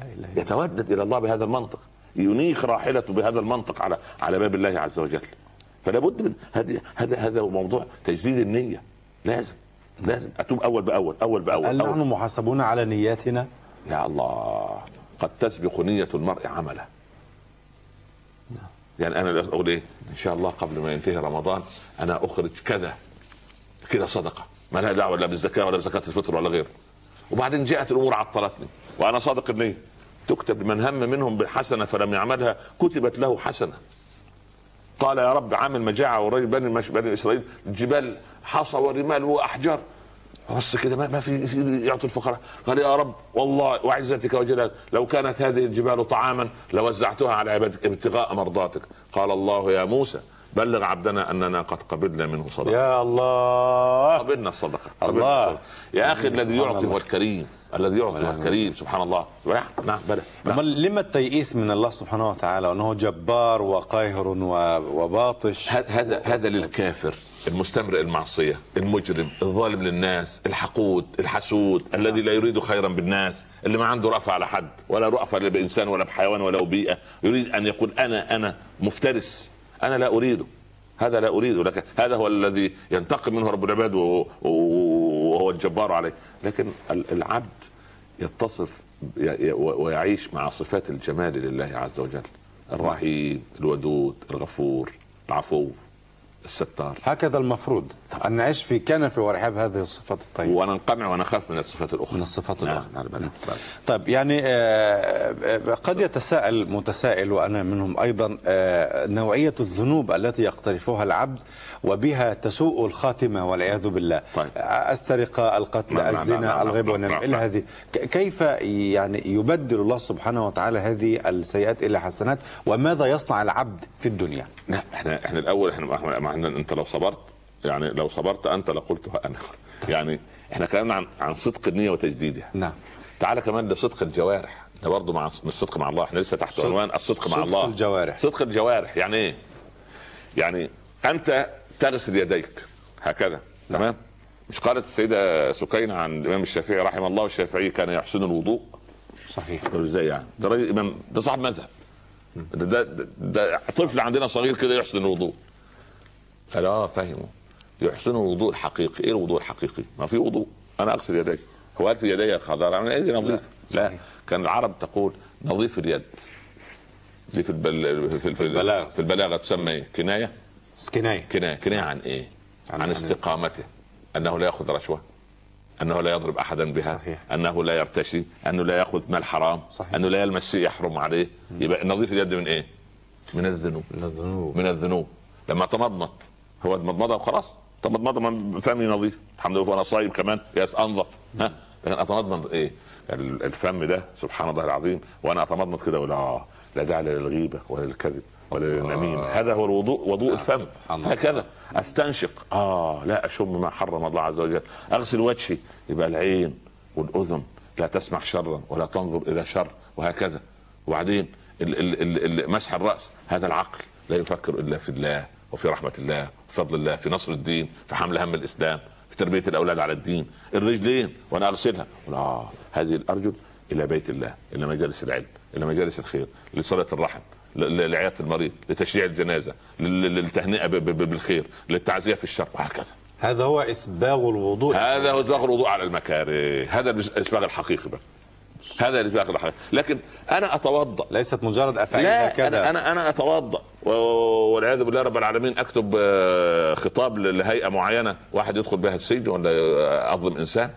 B: لا اله الا الله
C: يتودد الى الله بهذا المنطق ينيخ راحلته بهذا المنطق على على باب الله عز وجل فلا بد من هذه هذا هذا هو موضوع تجديد النيه لازم لازم اتوب اول باول اول باول,
B: هل نحن
C: أول.
B: محاسبون على نياتنا؟
C: يا الله قد تسبق نيه المرء عمله يعني انا اقول ايه ان شاء الله قبل ما ينتهي رمضان انا اخرج كذا كده صدقه ما لها دعوه لا بالزكاه ولا بزكاه الفطر ولا غيره وبعدين جاءت الامور عطلتني وانا صادق النيه تكتب لمن هم منهم بالحسنه فلم يعملها كتبت له حسنه قال يا رب عامل مجاعه ورجل بني, مش- بني اسرائيل جبال حصى ورمال واحجار بص كده ما ما في في يعطي الفقراء قال يا رب والله وعزتك وجلالك لو كانت هذه الجبال طعاما لوزعتها على عبادك ابتغاء مرضاتك قال الله يا موسى بلغ عبدنا اننا قد قبلنا منه صدقه
B: يا الله
C: قبلنا الصدقه
B: الله.
C: قبلنا الصدقة. يا اخي الذي
B: سبحان
C: يعطي
B: الله.
C: هو الكريم الذي يعطي هو
B: نعم.
C: الكريم سبحان الله نعم نعم بلى نعم.
B: أمال لما التيئيس من الله سبحانه وتعالى أنه جبار وقاهر و- وباطش
C: ه- هذا هذا للكافر المستمرئ المعصيه المجرم الظالم للناس الحقود الحسود الذي لا يريد خيرا بالناس اللي ما عنده رأفة على حد ولا رأفة لا بانسان ولا بحيوان ولا بيئه يريد ان يقول انا انا مفترس انا لا اريده هذا لا اريده لكن هذا هو الذي ينتقم منه رب العباد وهو- وهو الجبار عليه لكن ال- العبد يتصف ي- ي- ويعيش مع صفات الجمال لله عز وجل الرحيم الودود الغفور العفو الستار
B: هكذا المفروض أن نعيش في كنف ورحاب هذه الصفات الطيبة
C: وننقمع ونخاف من الصفات الاخرى
B: من الصفات
C: نعم،
B: الأخرى.
C: نعم، نعم.
B: طيب يعني آه، آه، قد يتساءل متسائل وانا منهم ايضا آه، نوعيه الذنوب التي يقترفها العبد وبها تسوء الخاتمه والعياذ بالله
C: طيب.
B: آه، السرقه، القتل،
C: نعم، نعم، نعم،
B: الزنا،
C: نعم،
B: الغيبه
C: نعم،
B: والنميمه
C: نعم،
B: الى
C: نعم.
B: هذه ك- كيف يعني يبدل الله سبحانه وتعالى هذه السيئات الى حسنات وماذا يصنع العبد في الدنيا؟
C: لا احنا
B: طيب.
C: احنا الاول احنا ما احنا ما احنا- انت لو صبرت يعني لو صبرت انت لقلتها انا يعني احنا اتكلمنا عن عن صدق النيه وتجديدها
D: نعم
C: تعالى كمان لصدق الجوارح ده برضه مع الصدق مع الله احنا لسه تحت
B: صدق-
C: عنوان الصدق مع
B: صدق
C: الله
B: الجوارح.
C: صدق الجوارح يعني ايه؟ يعني انت تغسل يديك هكذا
B: نعم.
C: تمام؟ مش قالت السيده سكينه عن الامام الشافعي رحمه الله والشافعي كان يحسن الوضوء
D: صحيح
C: طب ازاي يعني؟ ده راجل امام ده صاحب مذهب ده, ده, ده, ده طفل عندنا صغير كده يحسن الوضوء قال اه فهمه يحسن الوضوء الحقيقي ايه الوضوء الحقيقي؟ ما في وضوء انا اغسل يدي هو قال في يدي خضراء من ايدي نظيفه لا كان العرب تقول نظيف اليد دي في البل... في, في, في
D: البلاغة.
C: في البلاغه تسمى ايه؟ كنايه
D: كنايه
C: كنايه كنايه عن ايه؟
D: عن-
C: عن,
D: عن-
C: عن استقامته انه لا ياخذ رشوه انه لا يضرب احدا بها
D: صحيح.
C: انه لا يرتشي انه لا ياخذ مال حرام
D: صحيح.
C: انه لا يلمس شيء يحرم عليه يبقى نظيف اليد من ايه؟ من الذنوب
D: الذنوب
C: من الذنوب لما تمضمض هو مضمضه وخلاص تمضمضه ما فمي نظيف الحمد لله وانا صايم كمان يس انظف ها لكن اتمضمض ايه؟ ال- الفم ده سبحان الله العظيم وانا اتمضمض كده ولا آه، لا داعي للغيبه ولا للكذب ولا للنميمه هذا هو الوضوء وضوء الفم
D: سبحان الله.
C: هكذا استنشق اه لا اشم ما حرم الله عز وجل اغسل وجهي يبقى العين والاذن لا تسمع شرا ولا تنظر الى شر وهكذا وبعدين ال- ال- ال- ال- مسح الراس هذا العقل لا يفكر الا في الله وفي رحمه الله وفي فضل الله في نصر الدين في حمل هم الاسلام في تربيه الاولاد على الدين الرجلين وانا اغسلها ولا- اه هذه الارجل الى بيت الله الى مجالس العلم الى مجالس الخير لصله الرحم ل- ل- لعياده المريض لتشجيع الجنازه لل- لل- للتهنئه ب- ب- ب- بالخير للتعزيه في الشر وهكذا
D: هذا هو اسباغ الوضوء
C: هذا هو اسباغ الوضوء على المكاره هذا الإس- الاسباغ الحقيقي بقى هذا الاسباغ الحقيقي لكن انا اتوضا
D: ليست مجرد افعال
C: لا
D: هكذا
C: انا انا انا اتوضا و- والعياذ بالله رب العالمين اكتب آه، خطاب ل- لهيئه معينه واحد يدخل بها السجن ولا آه، اظلم انسان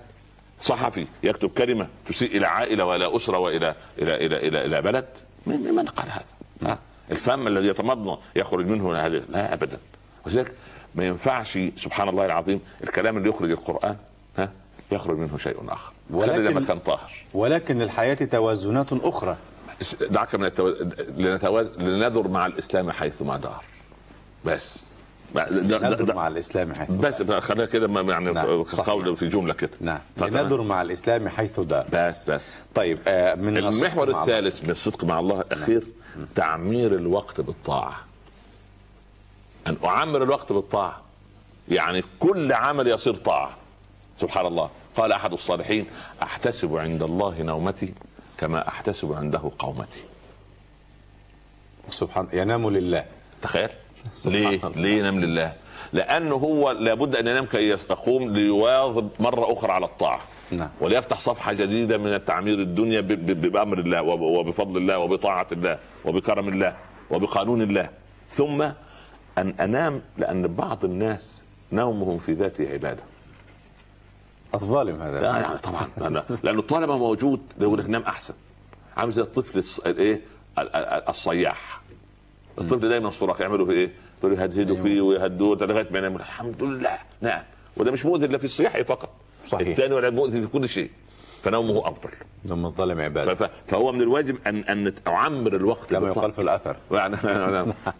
C: صحفي يكتب كلمه تسيء الى عائله والى اسره والى الى الى الى, إلى, إلى بلد من من قال هذا؟ ها؟ الفم الذي يتمضمض يخرج منه هذه لا ابدا ولذلك ما ينفعش سبحان الله العظيم الكلام اللي يخرج القران ها يخرج منه شيء اخر
D: ولكن-
C: ولكن مكان طاهر
D: ولكن للحياه توازنات اخرى
C: دعك من التو... لنتواز... لنذر مع الاسلام حيثما دار بس ما- ده- ده-
D: ندر
C: ده-
D: مع الاسلام حيث
C: بس بقى خلينا كده ما- يعني
D: نعم، صحيح.
C: قول في جمله كده
D: نعم
C: فتمام.
D: ندر مع الاسلام حيث دار
C: بس بس
D: طيب آه، من
C: المحور
D: الصدق مع الله. نعم.
C: الثالث من الصدق مع الله الاخير تعمير الوقت بالطاعه ان اعمر الوقت بالطاعه يعني كل عمل يصير طاعه سبحان الله قال احد الصالحين احتسب عند الله نومتي كما احتسب عنده قومتي
D: سبحان ينام لله
C: تخيل
D: سبحان
C: ليه
D: الله.
C: ليه ينام لله لانه هو لابد ان ينام كي يقوم ليواظب مره اخرى على الطاعه
D: نعم.
C: وليفتح صفحه جديده من التعمير الدنيا ب- ب- بامر الله وب- وبفضل الله وبطاعه الله وبكرم الله وبقانون الله ثم ان انام لان بعض الناس نومهم في ذاته عباده
D: الظالم
C: لا
D: هذا
C: يعني طبعا لأن- لانه طالما موجود يقول لك نام احسن عامل زي الطفل الص- الايه ال- ال- الصياح الطفل دايما الصراخ يعملوا فيه ايه؟ يقولوا يهدهدوا
D: أيوة.
C: فيه ويهدوه لغايه ما ينام الحمد لله نعم وده مش مؤذي الا في الصياح فقط
D: صحيح.
C: الثاني ولا مؤذي في كل شيء فنومه افضل
D: ثم الظالم عباده
C: ف- ف- فهو من الواجب ان ان نعمر الوقت
D: كما
C: بالطاعة.
D: يقال في الاثر
C: يعني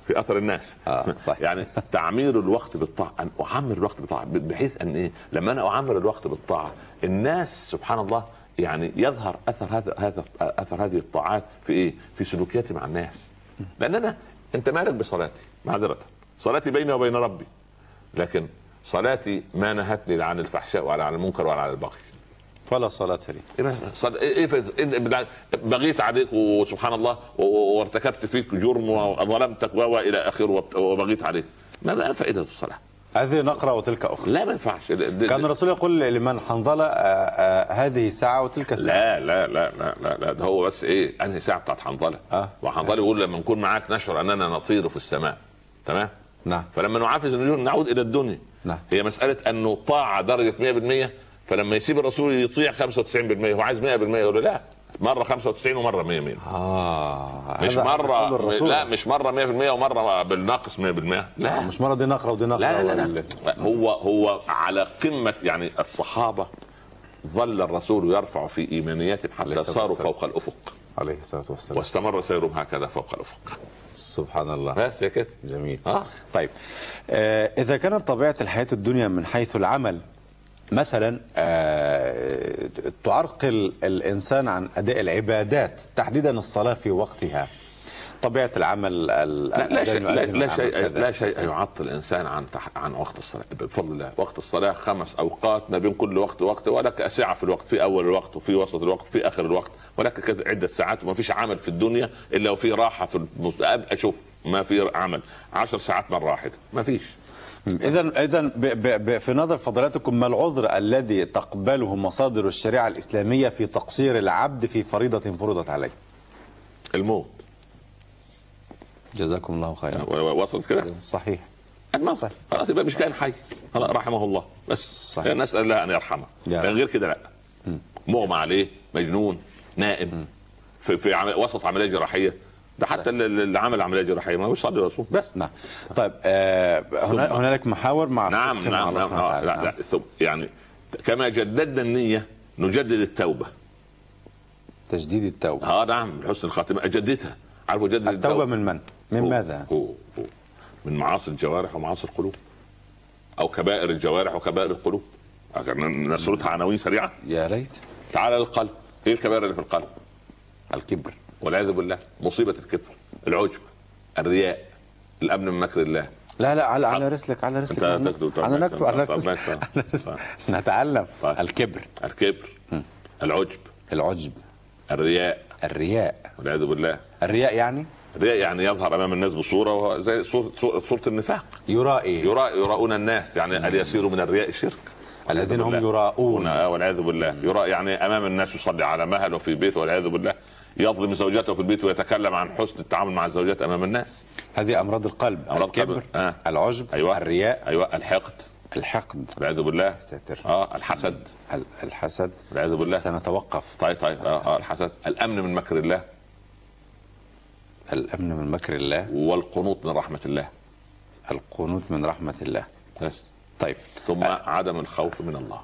C: في اثر الناس
D: آه، صحيح.
C: يعني تعمير الوقت بالطاعه ان اعمر الوقت بالطاعه بحيث ان ايه لما انا اعمر الوقت بالطاعه الناس سبحان الله يعني يظهر اثر هذا هذا اثر هذه الطاعات في ايه؟ في سلوكياتي مع الناس لان انا انت مالك بصلاتي معذره صلاتي بيني وبين ربي لكن صلاتي ما نهتني عن الفحشاء ولا عن المنكر ولا عن البغي
B: فلا صلاة لي
C: إيه بس- صد- ايه إيه فايدة- إيه بلع- بغيت عليك وسبحان الله و- و- وارتكبت فيك جرم وظلمتك و- والى اخره وبت- وبغيت عليك ما بقى فائده الصلاه
D: هذه نقره وتلك اخرى
C: لا ما ينفعش ال- ال-
D: كان الرسول يقول لمن حنظله آه، آه، هذه ساعه وتلك ساعه
C: لا لا لا لا لا, لا ده هو بس ايه انهي ساعه بتاعت حنظله
D: آه.
C: وحنظله يقول لما نكون معاك نشعر اننا نطير في السماء تمام
D: نعم
C: فلما نعافز النجوم نعود الى الدنيا
D: نعم.
C: هي مساله انه طاعه درجه 100% فلما يسيب الرسول يطيع 95% هو عايز 100% يقول له لا مره 95 ومره 100 100
D: اه
C: مش
D: هذا يقول
C: مره
D: الرسول.
C: لا مش مره 100% ومره بالناقص 100% لا
D: آه، مش مره دي نقره ودي نقره
C: لا لا, لا,
D: وال-
C: لا. هو هو على قمه يعني الصحابه ظل الرسول يرفع في ايمانيتهم
D: عليه
C: حتى
D: الصلاة
C: صاروا
D: والسلام.
C: فوق الافق
D: عليه الصلاه والسلام
C: واستمر سيرهم هكذا فوق الافق
D: سبحان الله
C: بس يا كده
D: جميل
C: اه
D: طيب آه، إذا كانت طبيعة الحياة الدنيا من حيث العمل
B: مثلا آه، تعرقل الانسان عن اداء العبادات تحديدا الصلاه في وقتها طبيعه العمل
C: لا, لا شيء لا, لا شيء لا شيء يعطل الانسان عن تح... عن وقت الصلاه بفضل الله وقت الصلاه خمس اوقات ما بين كل وقت ووقت ولك ساعه في الوقت في اول الوقت وفي وسط الوقت وفي اخر الوقت ولك كذا عده ساعات وما فيش عمل في الدنيا الا وفي راحه في المستقبل اشوف ما في عمل عشر ساعات مره واحده ما فيش
B: اذا اذا في نظر فضيلتكم ما العذر الذي تقبله مصادر الشريعه الاسلاميه في تقصير العبد في فريضه فرضت عليه
C: الموت
B: جزاكم الله خيرا
C: وصلت كده
B: صحيح
C: الموت خلاص يبقى مش كائن حي خلاص رحمه الله بس
B: صحيح.
C: صحيح. نسال الله ان يرحمه
B: يا رب.
C: لان غير كده لا مغمى عليه مجنون نائم في في عمل وسط عمليه جراحيه ده حتى اللي- اللي عمل عمليه جراحيه ما هو يصلي ويصوم بس
B: نعم طيب آه هنا هنالك محاور مع
C: نعم
B: الصدق مع
C: نعم
B: الله
C: نعم
B: سبحانه
C: آه،
B: وتعالى.
C: لا لا ثم يعني كما جددنا النيه نجدد التوبه
B: تجديد التوبه
C: اه نعم حسن الخاتمه اجددها عارف اجدد
B: التوبه من من؟ من
C: هو-
B: ماذا؟
C: هو هو من معاصي الجوارح ومعاصي القلوب او كبائر الجوارح وكبائر القلوب أجل ن- نسردها عناوين سريعه
B: يا ريت
C: تعال للقلب ايه الكبائر اللي في القلب
B: الكبر
C: والعياذ بالله مصيبه الكبر العجب الرياء الامن من مكر الله
B: لا لا على على رسلك على رسلك
C: آه. أنت تكتب-
B: انا
C: طب-
B: نكتب انا
C: طب-
B: نكتب
C: طب-
B: أنا
C: طب-
B: نكتب.
C: طب.
B: نتعلم
C: طيب.
B: الكبر
C: الكبر العجب
B: العجب
C: الرياء
B: الرياء
C: والعياذ بالله
B: الرياء يعني
C: الرياء يعني يظهر امام الناس بصوره وهو زي صورة- صورة صورة النفاق
B: يرائي
C: يراء يراؤون الناس يعني اليسير من الرياء شرك
B: الذين هم
C: والعياذ بالله.
B: يراءون.
C: آه، والعياذ بالله يراء يعني امام الناس يصلي على مهل وفي بيته والعياذ بالله يظلم زوجته في البيت ويتكلم عن حسن التعامل مع الزوجات امام الناس
B: هذه امراض القلب
C: أمراض
B: الكبر
C: القلب. آه.
B: العجب
C: ايوه
B: الرياء
C: ايوه الحقد
B: الحقد
C: والعياذ بالله
B: ساتر.
C: اه الحسد
B: ال- الحسد
C: والعياذ بالله.
B: سنتوقف
C: طيب طيب آه, اه الحسد الامن من مكر الله
B: الامن من مكر الله
C: والقنوط من رحمه الله
B: القنوت من رحمه الله
C: بس
B: طيب
C: ثم عدم الخوف من الله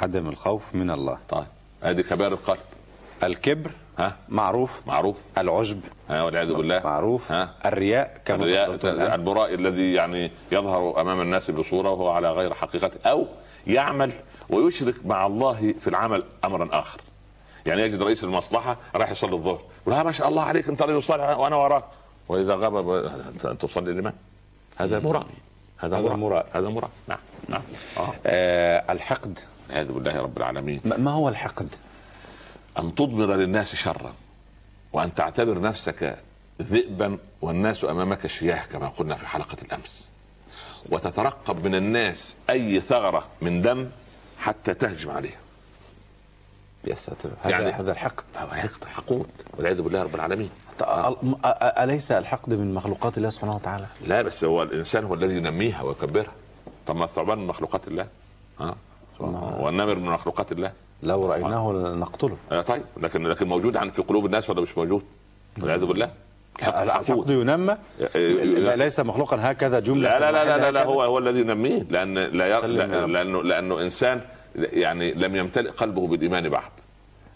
B: عدم الخوف من الله
C: طيب هذه كبائر القلب
B: الكبر
C: ها
B: معروف
C: معروف
B: العجب
C: ها والعياذ بالله
B: معروف
C: ها
B: الرياء كما
C: الرياء
B: تفضلتم الآن.
C: البراء الذي يعني يظهر امام الناس بصوره وهو على غير حقيقته او يعمل ويشرك مع الله في العمل امرا اخر. يعني يجد رئيس المصلحه راح يصلي الظهر يقول ها ما شاء الله عليك انت رجل صالح وانا وراك واذا غاب ب- أنت- أنت تصلي لمن؟ هذا مرائي هذا
B: هذا مرائي.
C: مرائي هذا مرائي نعم نعم آه.
B: آه الحقد
C: والعياذ بالله رب العالمين
B: ما ما هو الحقد؟
C: ان تضمر للناس شرا وان تعتبر نفسك ذئبا والناس امامك شياه كما قلنا في حلقه الامس وتترقب من الناس اي ثغره من دم حتى تهجم عليها
B: يا ساتر هذا
C: يعني-
B: هذا الحقد
C: فهيقطع حقود والعياذ بالله رب العالمين
B: ط- أل- أ- أ- اليس الحقد من مخلوقات الله سبحانه وتعالى؟
C: لا بس هو الانسان هو الذي ينميها ويكبرها طب ما الثعبان من مخلوقات الله ها والنمر من مخلوقات الله
B: لو رايناه لنقتله
C: آه طيب لكن لكن موجود عن في قلوب الناس ولا مش موجود والعياذ بالله الحقد حقود
B: الحقد ينمى
C: آه، لا.
B: ليس مخلوقا هكذا جمله
C: لا لا لا
B: واحدة
C: لا, لا, لا
B: هكذا.
C: هو هو الذي ينميه لان لا ي...
B: سلم يا
C: لا-
B: رب.
C: لانه لانه انسان يعني لم يمتلئ قلبه بالايمان بعد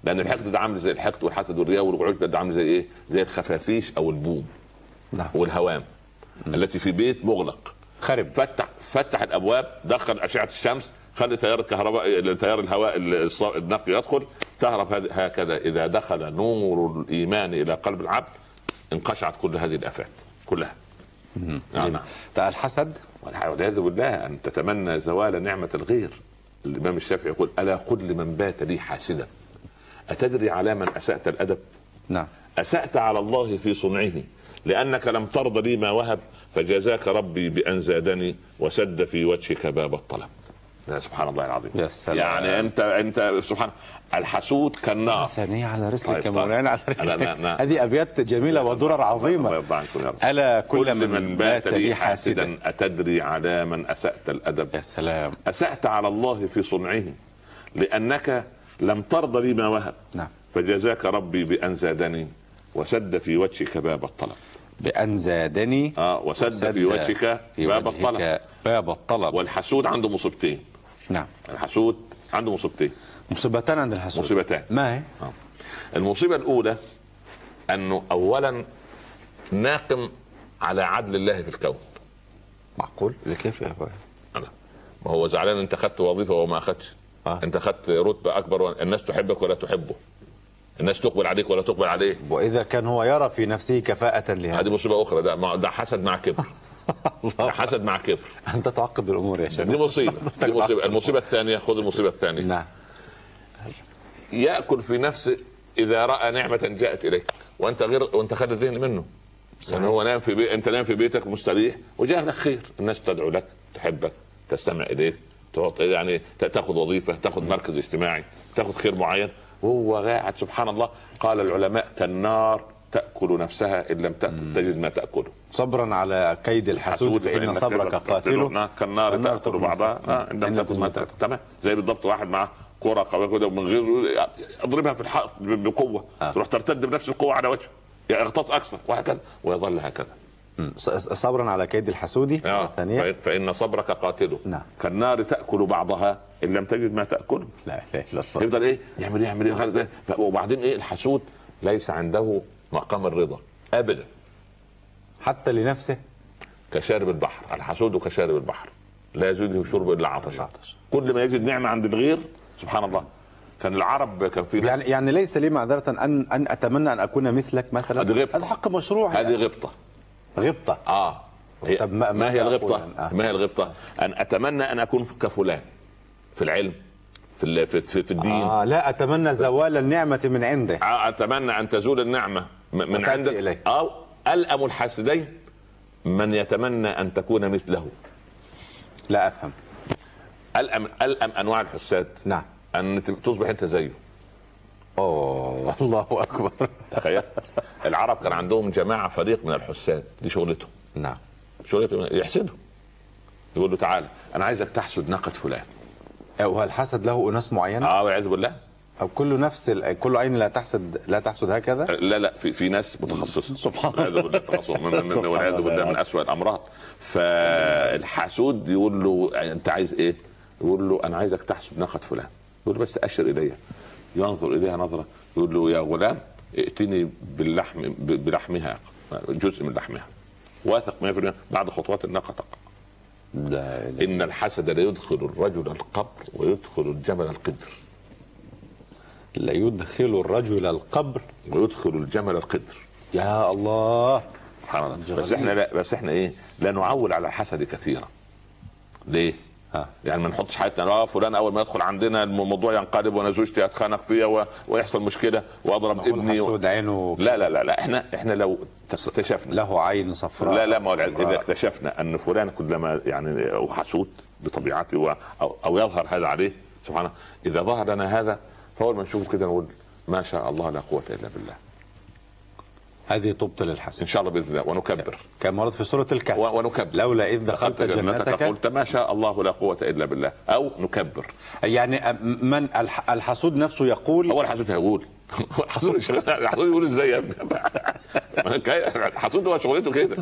C: لان الحقد ده عامل زي الحقد والحسد والرياء والعجب ده عامل زي ايه؟ زي الخفافيش او البوم
B: نعم.
C: والهوام التي في بيت مغلق
B: خرب
C: فتح فتح الابواب دخل اشعه الشمس خلي تيار الكهرباء تيار الهواء الص- النقي يدخل تهرب هذ- هكذا اذا دخل نور الايمان الى قلب العبد انقشعت كل هذه الافات كلها نعم نعم
B: بتاع طيب، الحسد
C: والعياذ بالله ان تتمنى زوال نعمه الغير الامام الشافعي يقول الا قل لمن بات لي حاسدا اتدري على من اسات الادب
B: نعم
C: اسات على الله في صنعه لانك لم ترض لي ما وهب فجزاك ربي بان زادني وسد في وجهك باب الطلب يا سبحان الله العظيم
B: يا سلام.
C: يعني انت انت سبحان الحسود كالنار
B: ثانية على رسلك
C: آه. طيب،
B: يا
C: طيب.
B: مولانا على
C: لا،
B: رسلك
C: لا، لا. طيب،
B: هذه أبيات جميلة ودرر
C: الله
B: عظيمة
C: يرضى عنكم يا رب.
B: ألا كل
C: كل
B: من بات لي حاسدا
C: اتدري على من اسات الادب
B: يا سلام
C: أسأت على الله في صنعه لأنك لم ترض لي ما وهب
B: نعم.
C: فجزاك ربي بأن زادني وسد في وجهك باب الطلب
B: بأن زادني
C: آه وسد في وجهك
B: في
C: باب
B: وجهك
C: الطلب
B: باب الطلب
C: والحسود عنده مصيبتين
B: نعم
C: الحسود عنده مصيبتين
B: مصيبتان عند الحسود
C: مصيبتان
B: ما هي؟
C: آه. المصيبة الأولى أنه أولا ناقم على عدل الله في الكون
B: معقول؟ كيف يا أخوي؟
C: أنا ما هو زعلان انت خدت وظيفه وهو ما اخدش
B: آه.
C: انت خدت رتبه اكبر وأن- الناس تحبك ولا تحبه الناس تقبل عليك ولا تقبل عليه
B: واذا كان هو يرى في نفسه كفاءه لهذا
C: هذه مصيبه اخرى ده ما- ده حسد مع كبر ده حسد مع كبر
B: انت تعقد الامور يا
C: دي
B: شباب
C: مصيبه دي مصيبه المصيبه الثانيه خذ المصيبه الثانيه
B: نعم
C: ياكل في نفسه اذا راى نعمه جاءت اليك وانت غير وانت خالي الذهن منه يعني هو نام في بيت انت نام في بيتك مستريح وجاء لك خير الناس تدعو لك تحبك تستمع اليك تعط يعني ت- تاخذ وظيفه تاخذ مركز اجتماعي تاخذ خير معين وهو قاعد سبحان الله قال العلماء كالنار تاكل نفسها ان لم تاكل تجد ما تاكله
B: صبرا على كيد الحسود فان
C: فإنك
B: صبرك
C: تبلغ- تبلغنا
B: قاتله
C: كالنار
B: والنار
C: تاكل
B: تأكل
C: بعضها
B: الناس.
C: آه، ان لم تكن ما تاكل تمام زي بالضبط واحد معاه كرة قوية كده من غير اضربها في الحائط ب- بقوة
B: آه.
C: تروح ترتد بنفس القوة على وجهه يغطس اكثر وهكذا ويظل هكذا
B: مم. ص- صبرا على كيد الحسود
C: آه.
B: ثانيا
C: فإن- فان صبرك قاتله
B: نعم.
C: كالنار تاكل بعضها ان لم تجد ما تاكله
B: لا اله الا الله
C: يفضل ايه يعمل ايه يعمل ايه يعمل إيه. ف- وبعدين ايه الحسود ليس عنده مقام الرضا ابدا
B: حتى لنفسه
C: كشارب البحر الحسود كشارب البحر لا يزيده شرب الا عطشا
B: عطش.
C: كل ما يجد نعمه عند الغير سبحان الله كان العرب كان في
B: يعني
C: ناس
B: يعني ليس لي معذره ان ان اتمنى ان اكون مثلك مثلا
C: هذه غيبة.
B: هذا حق مشروع
C: هذه غبطه
B: غبطه
C: اه هي
B: طب ما-
C: ما, ما
B: ماذا
C: هي الغبطه؟
B: أقول الآن؟ آه.
C: ما هي الغبطه؟ ان اتمنى ان اكون كفلان في العلم في ال- في, في, في الدين آه.
B: آه لا اتمنى زوال النعمه من عنده
C: اتمنى ان تزول النعمه م- من
B: وتأتي
C: عندك
B: إليك.
C: او الام الحاسدين من يتمنى ان تكون مثله
B: لا افهم
C: الام الام انواع الحساد
B: نعم
C: ان ت- تصبح انت زيه
B: اوه الله اكبر
C: تخيل العرب كان عندهم جماعه فريق من الحساد دي شغلتهم
B: نعم
C: شغلتهم إيه؟ يحسدهم يقول له تعالى انا عايزك تحسد ناقه فلان
B: وهالحسد له اناس معينه
C: اه والعياذ بالله
B: او كل نفس ال- كل عين لا تحسد لا تحسد هكذا
C: لا لا في في ناس متخصصه
B: سبحان
C: والعياذ بالله تخصص من- من- من-
B: سبحان
C: والعياذ
B: الله.
C: بالله من اسوء الامراض فالحسود يقول له انت عايز ايه؟ يقول له انا عايزك تحسد ناقه فلان يقول له بس اشر الي ينظر اليها نظره يقول له يا غلام ائتني باللحم ب- بلحمها جزء من لحمها واثق 100% بعد خطوات الناقه تقع
B: لا إله.
C: ان الحسد ليدخل الرجل القبر ويدخل الجبل القدر
B: لا يدخل الرجل القبر
C: ويدخل الجمل القدر
B: يا الله
C: سبحان الله بس
B: جميل.
C: احنا لا بس احنا ايه لا نعول على الحسد كثيرا ليه
B: ها.
C: يعني ما نحطش حياتنا اه فلان اول ما يدخل عندنا الموضوع ينقلب وانا زوجتي اتخانق فيها و... ويحصل مشكله واضرب ابني و...
B: الحسود عينه
C: لا لا لا لا احنا احنا لو اكتشفنا
B: له عين صفراء آه.
C: لا لا ما هو العلم. اذا اكتشفنا ان فلان كلما يعني هو حسود بطبيعته و- او او يظهر هذا عليه سبحان الله اذا ظهر لنا هذا فاول ما نشوفه كده نقول ما شاء الله لا قوه الا بالله
B: هذه تبطل
C: ان
B: الحسد
C: شاء الله باذن الله ونكبر
B: كان ورد في سوره الكهف
C: و- ونكبر
B: لولا اذ دخلت
C: جنتك
B: جنتك
C: قلت ما شاء الله لا قوة إلا بالله أو نكبر
B: يعني من الح- الحسود نفسه يقول
C: هو الحسود هيقول هو الحسود مش- الحسود يقول ازاي يا ابني ما كا- الحسود هو شغلته كده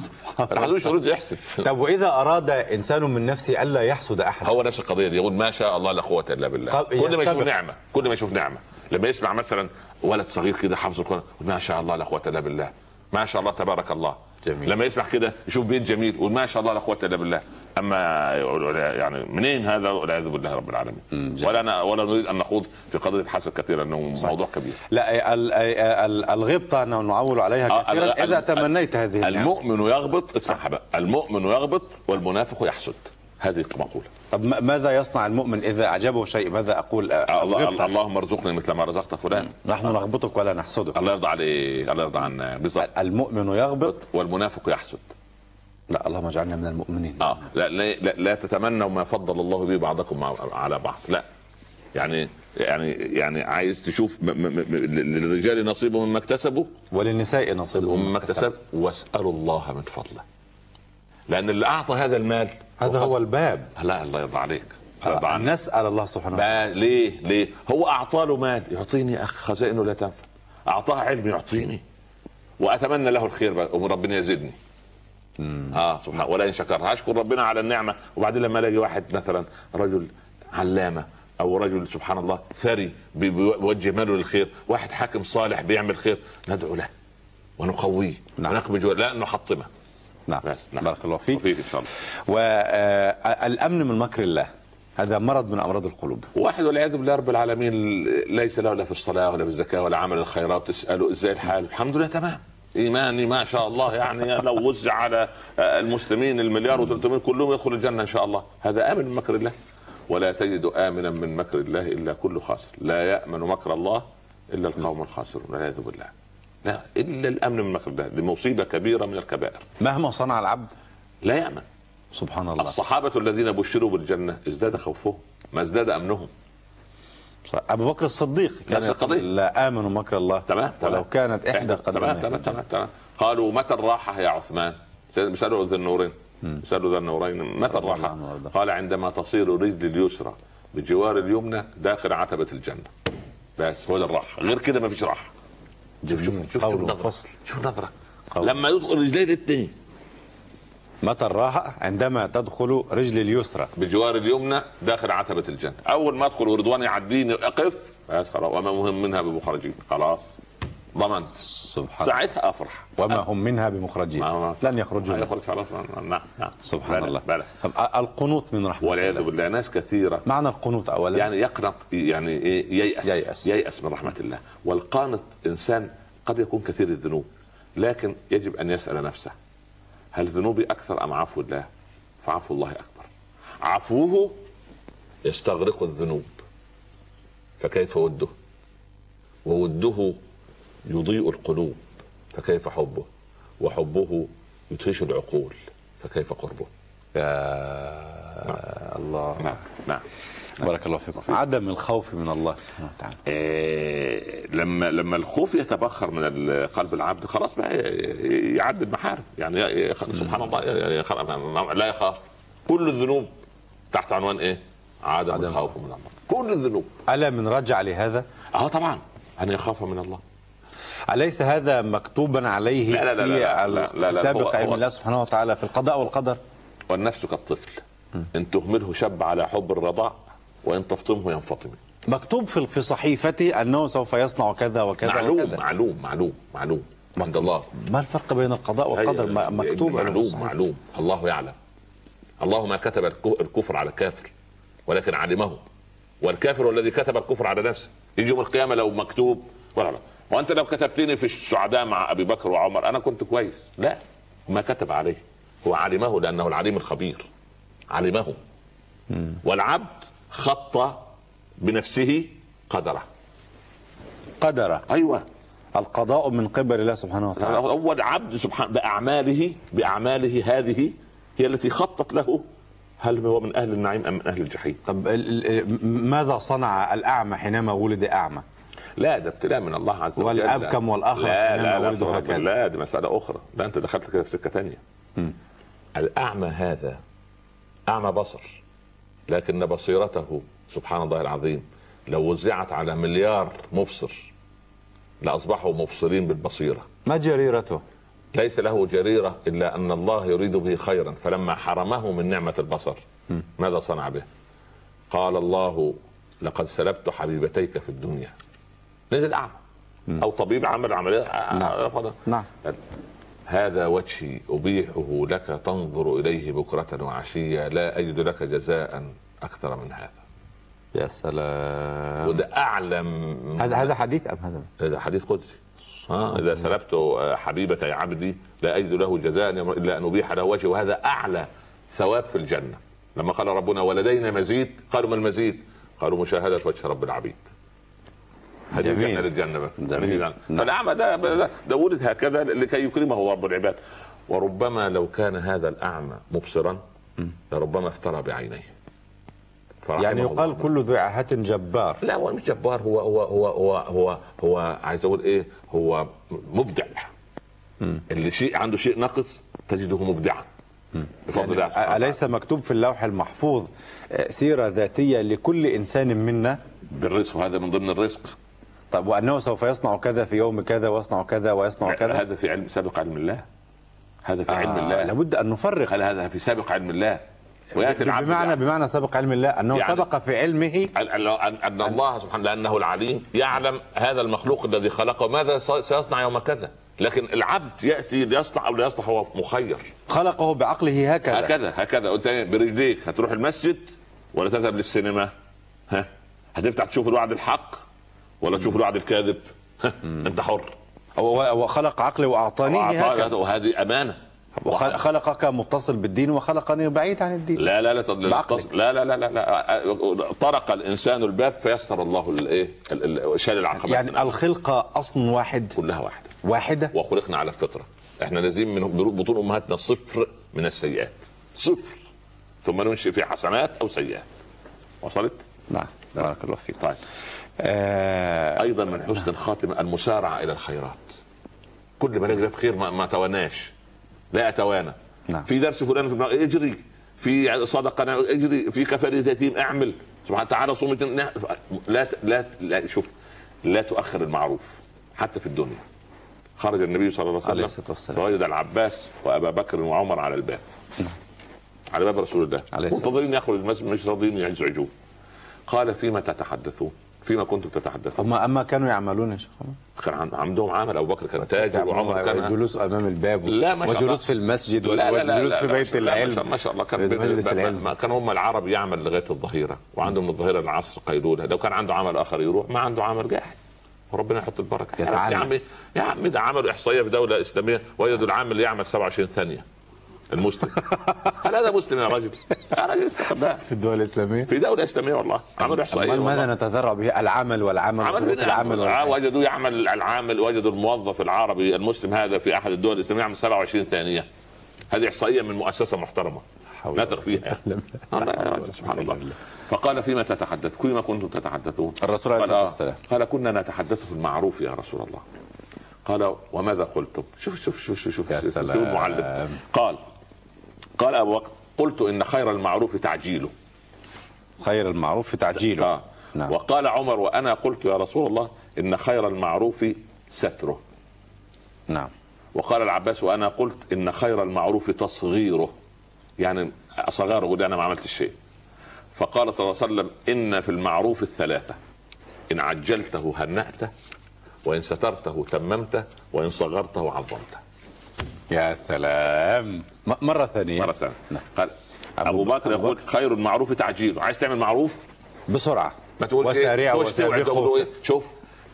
C: الحسود شغلته يحسد
B: طب واذا اراد انسان من نفسه الا يحسد احدا
C: هو نفس القضية دي يقول ما شاء الله لا قوة إلا بالله
B: طب
C: كل ما يشوف
B: يستبق.
C: نعمة كل ما يشوف نعمة لما يسمع مثلا ولد صغير كده حافظ القرآن يقول ما شاء الله لا قوة إلا بالله ما شاء الله تبارك الله
B: جميل.
C: لما يسمع كده يشوف بيت جميل يقول ما شاء الله لا قوة إلا بالله أما يعني منين هذا والعياذ بالله رب العالمين ولا أنا ولا نريد أن نخوض في قضية الحسد كثيرا لأنه موضوع كبير
B: لا ال- ال- الغبطه انه نعول عليها
C: آه، ال-
B: كثيرا
C: ال-
B: اذا تمنيت هذه النعمة.
C: المؤمن يغبط اسمعها بقى المؤمن يغبط والمنافق يحسد هذه مقولة
B: طب م- ماذا يصنع المؤمن اذا اعجبه شيء ماذا اقول
C: آه، الله-
B: الغبطة.
C: اللهم ارزقني مثل ما رزقت فلان
B: نحن نغبطك ولا نحسدك
C: الله يرضى عليه الله يرضى عنا بالظبط
B: المؤمن يغبط
C: والمنافق يحسد
B: لا اللهم اجعلنا من المؤمنين
C: اه لا لا, لا, لا تتمنوا ما فضل الله به بعضكم مع- على بعض لا يعني يعني يعني عايز تشوف م م م للرجال نصيب مما اكتسبوا
B: وللنساء نصيب
C: ومما اكتسب واسالوا الله من فضله لان اللي اعطى هذا المال
B: هذا هو الباب
C: لا الله يرضى عليك الله يرضى
B: آه،
C: عنك
B: نسال الله سبحانه وتعالى
C: بقى ليه ليه هو اعطى له مال يعطيني اخ خزائنه لا تنفع اعطاها علم يعطيني واتمنى له الخير بقى وربنا يزيدني اه سبحان ولا ان شكر هشكر ربنا على النعمه وبعدين لما الاقي واحد مثلا رجل علامه او رجل سبحان الله ثري بي- بيوجه ماله للخير واحد حاكم صالح بيعمل خير ندعو له ونقويه
B: نعم.
C: ونقبج لا نحطمه
B: نعم
C: بس، نعم.
B: بارك الله فيك
C: وفيك ان شاء الله
B: والامن من مكر الله هذا مرض من امراض القلوب
C: واحد والعياذ بالله رب العالمين ليس له لا في الصلاه ولا في الزكاه ولا عمل الخيرات تساله ازاي الحال الحمد لله تمام ايماني ما شاء الله يعني لو وزع على المسلمين المليار و300 كلهم يدخلوا الجنه ان شاء الله هذا امن من مكر الله ولا تجد امنا من مكر الله الا كل خاسر لا يامن مكر الله الا القوم الخاسرون والعياذ بالله لا الا الامن من مكر الله دي مصيبه كبيره من الكبائر
B: مهما صنع العبد
C: لا يامن
B: سبحان الله
C: الصحابه الذين بشروا بالجنه ازداد خوفهم ما ازداد امنهم
B: صح. ابو بكر الصديق كان
C: نفس القضية.
B: يقول لا امنوا مكر الله
C: تمام تمام
B: ولو كانت احدى
C: تمام
B: قدميه
C: تمام تمام تمام قالوا متى الراحه يا عثمان؟ سالوا ذا النورين سالوا ذا النورين متى
B: رضي الله
C: الراحه؟
B: عنه وارضاه.
C: قال عندما تصير رجل اليسرى بجوار اليمنى داخل عتبه الجنه بس هو ده الراحه غير كده ما فيش راحه شوف شوف شوف
B: قول
C: شوف نظره
B: وفصل.
C: شوف نظره
B: قول.
C: لما يدخل رجلين الاثنين
B: متى الراحه عندما تدخل رجل اليسرى
C: بجوار اليمنى داخل عتبه الجنه اول ما ادخل ورضوان يعديني اقف بس خلاص وما مهم منها بمخرجين خلاص ضمن
B: سبحان الله
C: ساعتها افرح
B: وما هم منها بمخرجين
C: ما- ما-
B: لن يخرجوا
C: ما
B: منها.
C: يخرج خلاص نعم نعم
B: سبحان
C: بلى
B: الله
C: بلى
B: طب أ- القنوط من رحمه
C: والعياذ
B: الله
C: بالله ناس كثيره
B: معنى القنوط اولا
C: يعني يقنط يعني ايه ييأس
B: ييأس.
C: ييأس من رحمه الله والقانط انسان قد يكون كثير الذنوب لكن يجب ان يسال نفسه هل ذنوبي اكثر ام عفو الله؟ فعفو الله اكبر عفوه يستغرق الذنوب فكيف وده؟ ووده يضيء القلوب فكيف حبه؟ وحبه يدهش العقول فكيف قربه؟
B: يا الله
C: نعم نعم
B: بارك الله فيكم عدم الخوف من الله سبحانه وتعالى
C: آه، لما لما الخوف يتبخر من ال- قلب العبد خلاص بقى ي- يعدي المحارم يعني ي- ي- سبحان الله يعني خلاص ما- لا يخاف كل الذنوب تحت عنوان ايه؟ عدم,
B: عدم.
C: الخوف من الله كل الذنوب
B: الا من رجع لهذا
C: اه طبعا ان يخاف من الله
B: أليس هذا مكتوبا عليه
C: لا- لا- لا-
B: في
C: لا- لا- لا- لا- لا،
B: سابق
C: هو-
B: علم
C: هو-
B: الله سبحانه وتعالى في القضاء والقدر
C: والنفس كالطفل ان تهمله شب على حب الرضاع وان تفطمه ينفطم
B: مكتوب في في صحيفته أنه سوف يصنع كذا وكذا
C: معلوم
B: وكذا
C: معلوم معلوم معلوم عند الله
B: ما الفرق بين القضاء والقدر ما-
C: هي-
B: مكتوب علم
C: معلوم
B: الصحيفة.
C: معلوم الله يعلم الله ما كتب الك- الكفر على الكافر ولكن علمه والكافر هو الذي كتب الكفر على نفسه يجي يوم القيامه لو مكتوب ولا لا وانت لو كتبتني في السعداء مع ابي بكر وعمر انا كنت كويس لا ما كتب عليه هو علمه لانه العليم الخبير علمه والعبد خط بنفسه قدره
B: قدر
C: ايوه
B: القضاء من قبل الله سبحانه وتعالى
C: أول عبد سبحان بأعماله بأعماله هذه هي التي خطت له هل هو من أهل النعيم أم من أهل الجحيم
B: طب ال- ال- ماذا صنع الأعمى حينما ولد أعمى
C: لا ده ابتلاء من الله عز وجل
B: والأبكم والأخرس
C: لا
B: إنما
C: لا لا,
B: ولد
C: لا,
B: هكذا.
C: لا, لا دي مسألة أخرى لا أنت دخلت كده في سكة ثانية الأعمى هذا أعمى بصر لكن بصيرته سبحان الله العظيم لو وزعت على مليار مبصر لأصبحوا مبصرين بالبصيرة
B: ما جريرته
C: ليس له جريرة إلا أن الله يريد به خيرا فلما حرمه من نعمة البصر ماذا صنع به قال الله لقد سلبت حبيبتيك في الدنيا نزل أعمى أو طبيب عمل عملية
B: نعم.
C: فضل.
B: نعم
C: هذا وجهي أبيحه لك تنظر إليه بكرة وعشية لا أجد لك جزاء أكثر من هذا
B: يا سلام
C: وده أعلم
B: هذا هذا حديث أم هذا
C: هذا حديث قدسي آه إذا سلبت آه، حبيبة عبدي لا أجد له جزاء إلا أن أبيح له وجهي وهذا أعلى ثواب في الجنة لما قال ربنا ولدينا مزيد قالوا ما المزيد قالوا مشاهدة وجه رب العبيد هذه
B: جميل.
C: الجنة للجنة بقى
B: جميل. نعم.
C: هذه الجنة. فالأعمى ده, ده, ده ولد هكذا لكي يكرمه رب العباد وربما لو كان هذا الأعمى مبصرا لربما افترى بعينيه فرحمه
B: يعني
C: الله.
B: يقال كل ذو عاهة جبار
C: لا هو مش جبار هو هو هو هو هو, هو عايز اقول ايه هو مبدع اللي شيء عنده شيء ناقص تجده مبدعا بفضل الله سبحانه
B: أ-
C: وتعالى.
B: يعني أليس مكتوب في اللوح المحفوظ آه، سيرة ذاتية لكل إنسان منا
C: بالرزق هذا من ضمن الرزق
B: طب وأنه سوف يصنع كذا في يوم كذا ويصنع كذا ويصنع كذا
C: هذا في علم سابق علم الله هذا في
B: آه،
C: علم الله
B: لابد أن نفرق
C: هل هذا في سابق علم الله وياتي العبد
B: بمعنى بمعنى سبق علم الله أنه
C: يعني-
B: سبق في علمه
C: أن- أن أن الله سبحانه لأنه العليم يعلم هذا المخلوق الذي خلقه ماذا سي- سيصنع يوم كذا لكن العبد يأتي ليصنع أو لا يصنع هو مخير
B: خلقه بعقله هكذا
C: هكذا هكذا قلت إيه؟ برجليك هتروح المسجد ولا تذهب للسينما ها هتفتح تشوف الوعد الحق ولا تشوف الوعد الكاذب ها؟ انت حر
D: هو هو خلق عقلي واعطانيه هكذا
C: وأعطاك- وهذه امانه
D: وخل- خلقك متصل بالدين وخلقني بعيد عن الدين
C: لا لا لا تض- لا
D: بعقلك.
C: تض- لا لا لا لا, لا. طرق الانسان الباب فيسر الله الايه ال- إيه؟ ال- شال العقبات من
D: يعني
C: أمامه.
D: الخلقه اصل واحد
C: كلها واحده
D: واحده
C: وخلقنا على الفطره احنا نازلين من بطون امهاتنا صفر من السيئات صفر ثم ننشئ في حسنات او سيئات وصلت
D: نعم بارك الله فيك
C: طيب
D: آه
C: ايضا من حسن الخاتمه المسارعه الى الخيرات كل ما نجري بخير ما, ما تواناش لا اتوانى
D: نعم.
C: في درس فلان في ابن- اجري في صدقه نعم، اجري في كفاله يتيم اعمل سبحان تعالى صوم اثنين. لا لا لا, لا شوف لا تؤخر المعروف حتى في الدنيا خرج النبي صلى الله
D: عليه
C: عليه
D: الصلاة
C: وسلم
D: والسلام. نعم.
C: فوجد العباس وابا بكر وعمر على الباب على باب رسول الله
D: عليه الصلاة
C: منتظرين يخرج المسجد مش راضيين يزعجوه قال فيما تتحدثون فيما كنتم تتحدثون
D: هم اما كانوا يعملون يا شيخ عمر؟
C: كان عن- عندهم عمل ابو بكر كان تاجر وعمر
D: يعني
C: كان
D: جلوس امام الباب
C: لا، ما شاء الله.
D: وجلوس في المسجد
C: لا، لا، لا،
D: وجلوس
C: لا،
D: في
C: لا،
D: بيت
C: لا، ما شاء-
D: العلم
C: ما شاء الله كان
D: في
C: بين-
D: مجلس
C: ما-
D: العلم
C: ما كان هم العرب يعمل لغايه الظهيره وعندهم من الظهيره للعصر قيلوله لو كان عنده عمل اخر يروح ما عنده عمل جاحد وربنا يحط البركه
D: يتعلم.
C: بس يا عمي يا عمي ده عملوا احصائيه في دوله اسلاميه وجدوا العامل يعمل 27 ثانيه المسلم هل هذا مسلم يا راجل؟ يا راجل استخباها
D: في الدول الاسلاميه
C: في دوله اسلاميه والله عملوا احصائيه
D: امال
C: والله.
D: ماذا نتذرع به العمل والعمل
C: عمل
D: وحقوق
C: فين
D: العمل إيه؟
C: العمل
D: والعمل.
C: آه، وجدوا يعمل العامل وجدوا الموظف العربي المسلم هذا في احد الدول الاسلاميه يعمل 27 ثانيه هذه احصائيه من مؤسسه محترمه
D: حول
C: نثق فيها الله يعني. آه، يا رجل، سبحان الله فقال فيما تتحدث فيما كنتم تتحدثون
D: الرسول عليه
C: قال آه.
D: الصلاة والسلام.
C: قال كنا نتحدث في المعروف يا رسول الله قال وماذا قلتم شوف شوف شوف شوف شوف,
D: يا
C: شوف, شوف
D: سلام.
C: المعلم قال قال ابو بكر قلت ان خير المعروف تعجيله
D: خير المعروف في تعجيله
C: آه.
D: نعم.
C: وقال عمر وانا قلت يا رسول الله ان خير المعروف ستره
D: نعم
C: وقال العباس وانا قلت ان خير المعروف تصغيره يعني اصغره يقول انا ما عملت شيء فقال صلى الله عليه وسلم ان في المعروف الثلاثه ان عجلته هنأته وان سترته تممته وان صغرته عظمته
D: يا سلام م- مره ثانيه
C: مره ثانيه
D: نعم.
C: قال
D: أبو
C: ابو
D: بكر-
C: بكر يقول خير المعروف تعجيله عايز تعمل معروف
D: بسرعه
C: ما تقولش
D: وسارعه
C: ايه خش توعد
D: وسابقه
C: وقول إيه؟ شوف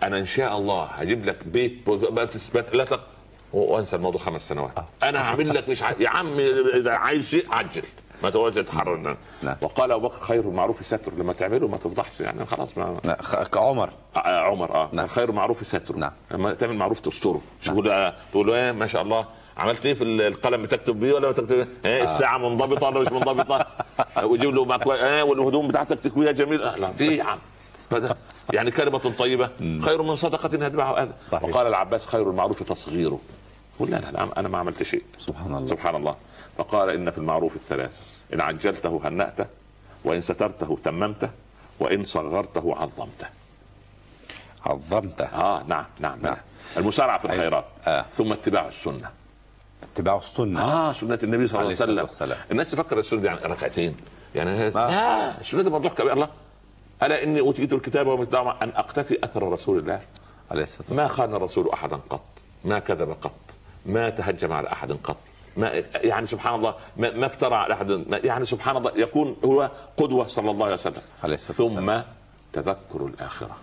C: انا ان شاء الله هجيب لك بيت ب- ما تثبت لا تق... و- وانسى الموضوع خمس سنوات انا هعمل لك مش ع... يا عم اذا عايز شيء عجل ما تقعدش تتحرر
D: نعم.
C: وقال ابو بكر خير المعروف ستر لما تعمله ما تفضحش يعني خلاص ما...
D: نعم. خ- عمر
C: آه، عمر اه
D: نعم.
C: نعم. خير المعروف ستره
D: نعم.
C: لما تعمل معروف تستره مش تقول له- تقول له ايه ما شاء الله عملت ايه في ال- القلم بتكتب بيه ولا ما تكتب بيه؟
D: آه.
C: ايه الساعه منضبطه ولا مش منضبطه ويجيب له مكوى ايه والهدوم بتاعتك تكويها جميله لا في إيه يا عم فده- يعني كلمة طيبة خير من صدقة هتبعها أذى
D: صحيح.
C: وقال العباس خير المعروف تصغيره قل لا لا لا، أنا ما عملت شيء
D: سبحان الله.
C: سبحان الله فقال إن في المعروف الثلاثة إن عجلته هنأته وإن سترته تممته وإن صغرته عظمته
D: عظمته
C: اه نعم نعم نعم المسارعه في الخيرات
D: آه.
C: ثم اتباع السنه
D: اتباع السنه
C: اه سنه النبي صلى
D: عليه
C: الله
D: الصلاة
C: عليه وسلم
D: والسلام.
C: الناس تفكر السنه دي يعني ركعتين يعني آه. لا السنه دي موضوع كبير الله الا اني اوتيت الكتاب ومثله معه، ان اقتفي اثر رسول الله
D: عليه الصلاه
C: ما خان الرسول احدا قط ما كذب قط ما تهجم على احد قط ما يعني سبحان الله ما, ما افترى على احد ما يعني سبحان الله يكون هو قدوه صلى الله عليه وسلم
D: عليه الصلاة
C: ثم تذكر الاخره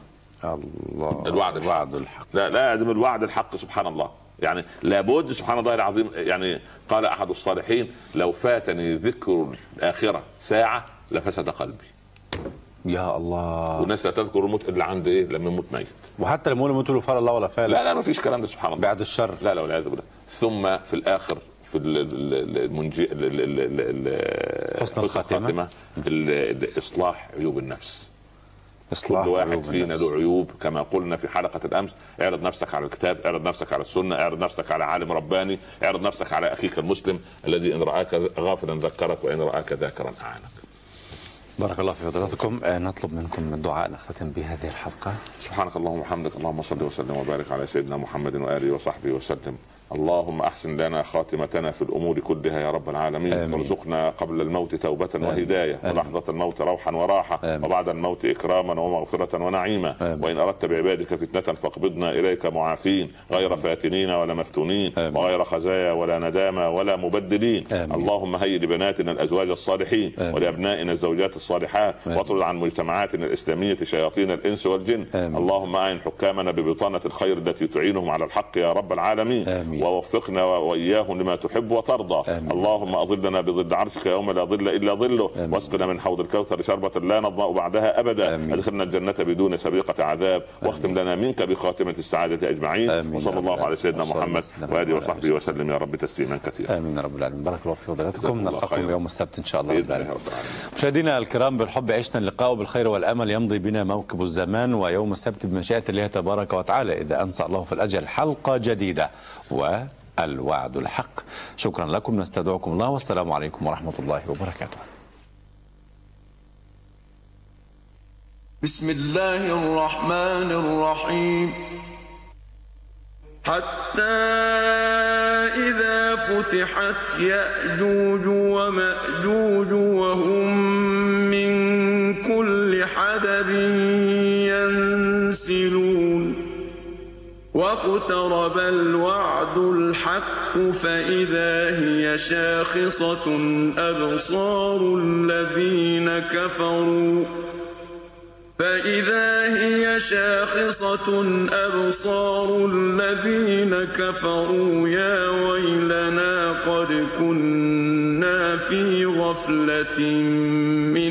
D: الله
C: الوعد الحق.
D: الوعد الحق
C: لا لا يعدم الوعد الحق سبحان الله يعني لابد سبحان الله العظيم يعني قال احد الصالحين لو فاتني ذكر الاخره ساعه لفسد قلبي
D: يا الله
C: والناس لا تذكر الموت الا عند ايه لما يموت ميت
D: وحتى لما يقولوا موتوا فعل الله ولا فعل
C: لا لا ما فيش كلام ده سبحان الله
D: بعد الشر
C: لا لا والعياذ بالله ثم في الاخر في ال- ال- ال- المنجي ال- ال- ال- ال- ال-
D: حسن الخاتمة.
C: ال- ال- اصلاح عيوب النفس
D: اصلاح
C: كل واحد
D: قلوب
C: فينا
D: الناس.
C: له عيوب كما قلنا في حلقه الامس اعرض نفسك على الكتاب اعرض نفسك على السنه اعرض نفسك على عالم رباني اعرض نفسك على اخيك المسلم الذي ان راك غافلا ذكرك وان راك ذاكرا اعانك
D: بارك الله في حضراتكم آه، نطلب منكم الدعاء نختتم بهذه الحلقه
C: سبحانك اللهم وبحمدك اللهم صل وسلم وبارك على سيدنا محمد واله وصحبه وسلم اللهم احسن لنا خاتمتنا في الامور كلها يا رب العالمين
B: آمين.
C: وارزقنا قبل الموت توبه وهدايه
B: آمين.
C: ولحظه الموت روحا وراحه
B: آمين.
C: وبعد الموت اكراما ومغفره ونعيما
B: آمين.
C: وان اردت بعبادك فتنه فاقبضنا اليك معافين غير فاتنين ولا مفتونين
B: آمين.
C: وغير خزايا ولا ندامى ولا مبدلين
B: آمين.
C: اللهم هيئ لبناتنا الازواج الصالحين
B: آمين.
C: ولابنائنا الزوجات الصالحات
B: آمين.
C: واطرد عن مجتمعاتنا الاسلاميه شياطين الانس والجن
B: آمين.
C: اللهم اعن حكامنا ببطانه الخير التي تعينهم على الحق يا رب العالمين
B: آمين.
C: ووفقنا واياهم لما تحب وترضى
B: آمين.
C: اللهم اظلنا بظل عرشك يوم لا ظل الا ظله
B: آمين.
C: واسقنا من حوض الكوثر شربه لا نضمأ بعدها ابدا
B: آمين.
C: ادخلنا الجنه بدون سابقه عذاب واختم لنا منك بخاتمه السعاده اجمعين
B: آمين.
C: وصلى الله على سيدنا
B: وصلى
C: محمد
B: وسلم
C: واله
B: على
C: وصحبه وسلم يا رب تسليما كثيرا
B: امين يا رب العالمين بارك الله في
C: جزاكم
B: فضلاتكم
C: الله
B: نلقاكم
C: خيرا.
B: يوم السبت ان شاء الله رب
C: باذن الله
B: العالمين
C: رب العالمين
B: مشاهدينا الكرام بالحب عشنا اللقاء بالخير والامل يمضي بنا موكب الزمان ويوم السبت بمشيئه الله تبارك وتعالى اذا انسى الله في الاجل حلقه جديده والوعد الحق شكرا لكم نستودعكم الله والسلام عليكم ورحمه الله وبركاته
A: بسم الله الرحمن الرحيم حتى إذا فتحت يأجوج ومأجوج وهم من كل حدب ينسلون واقترب الوعد الحق فإذا هي شاخصة أبصار الذين كفروا فإذا هي شاخصة أبصار الذين كفروا يا ويلنا قد كنا في غفلة من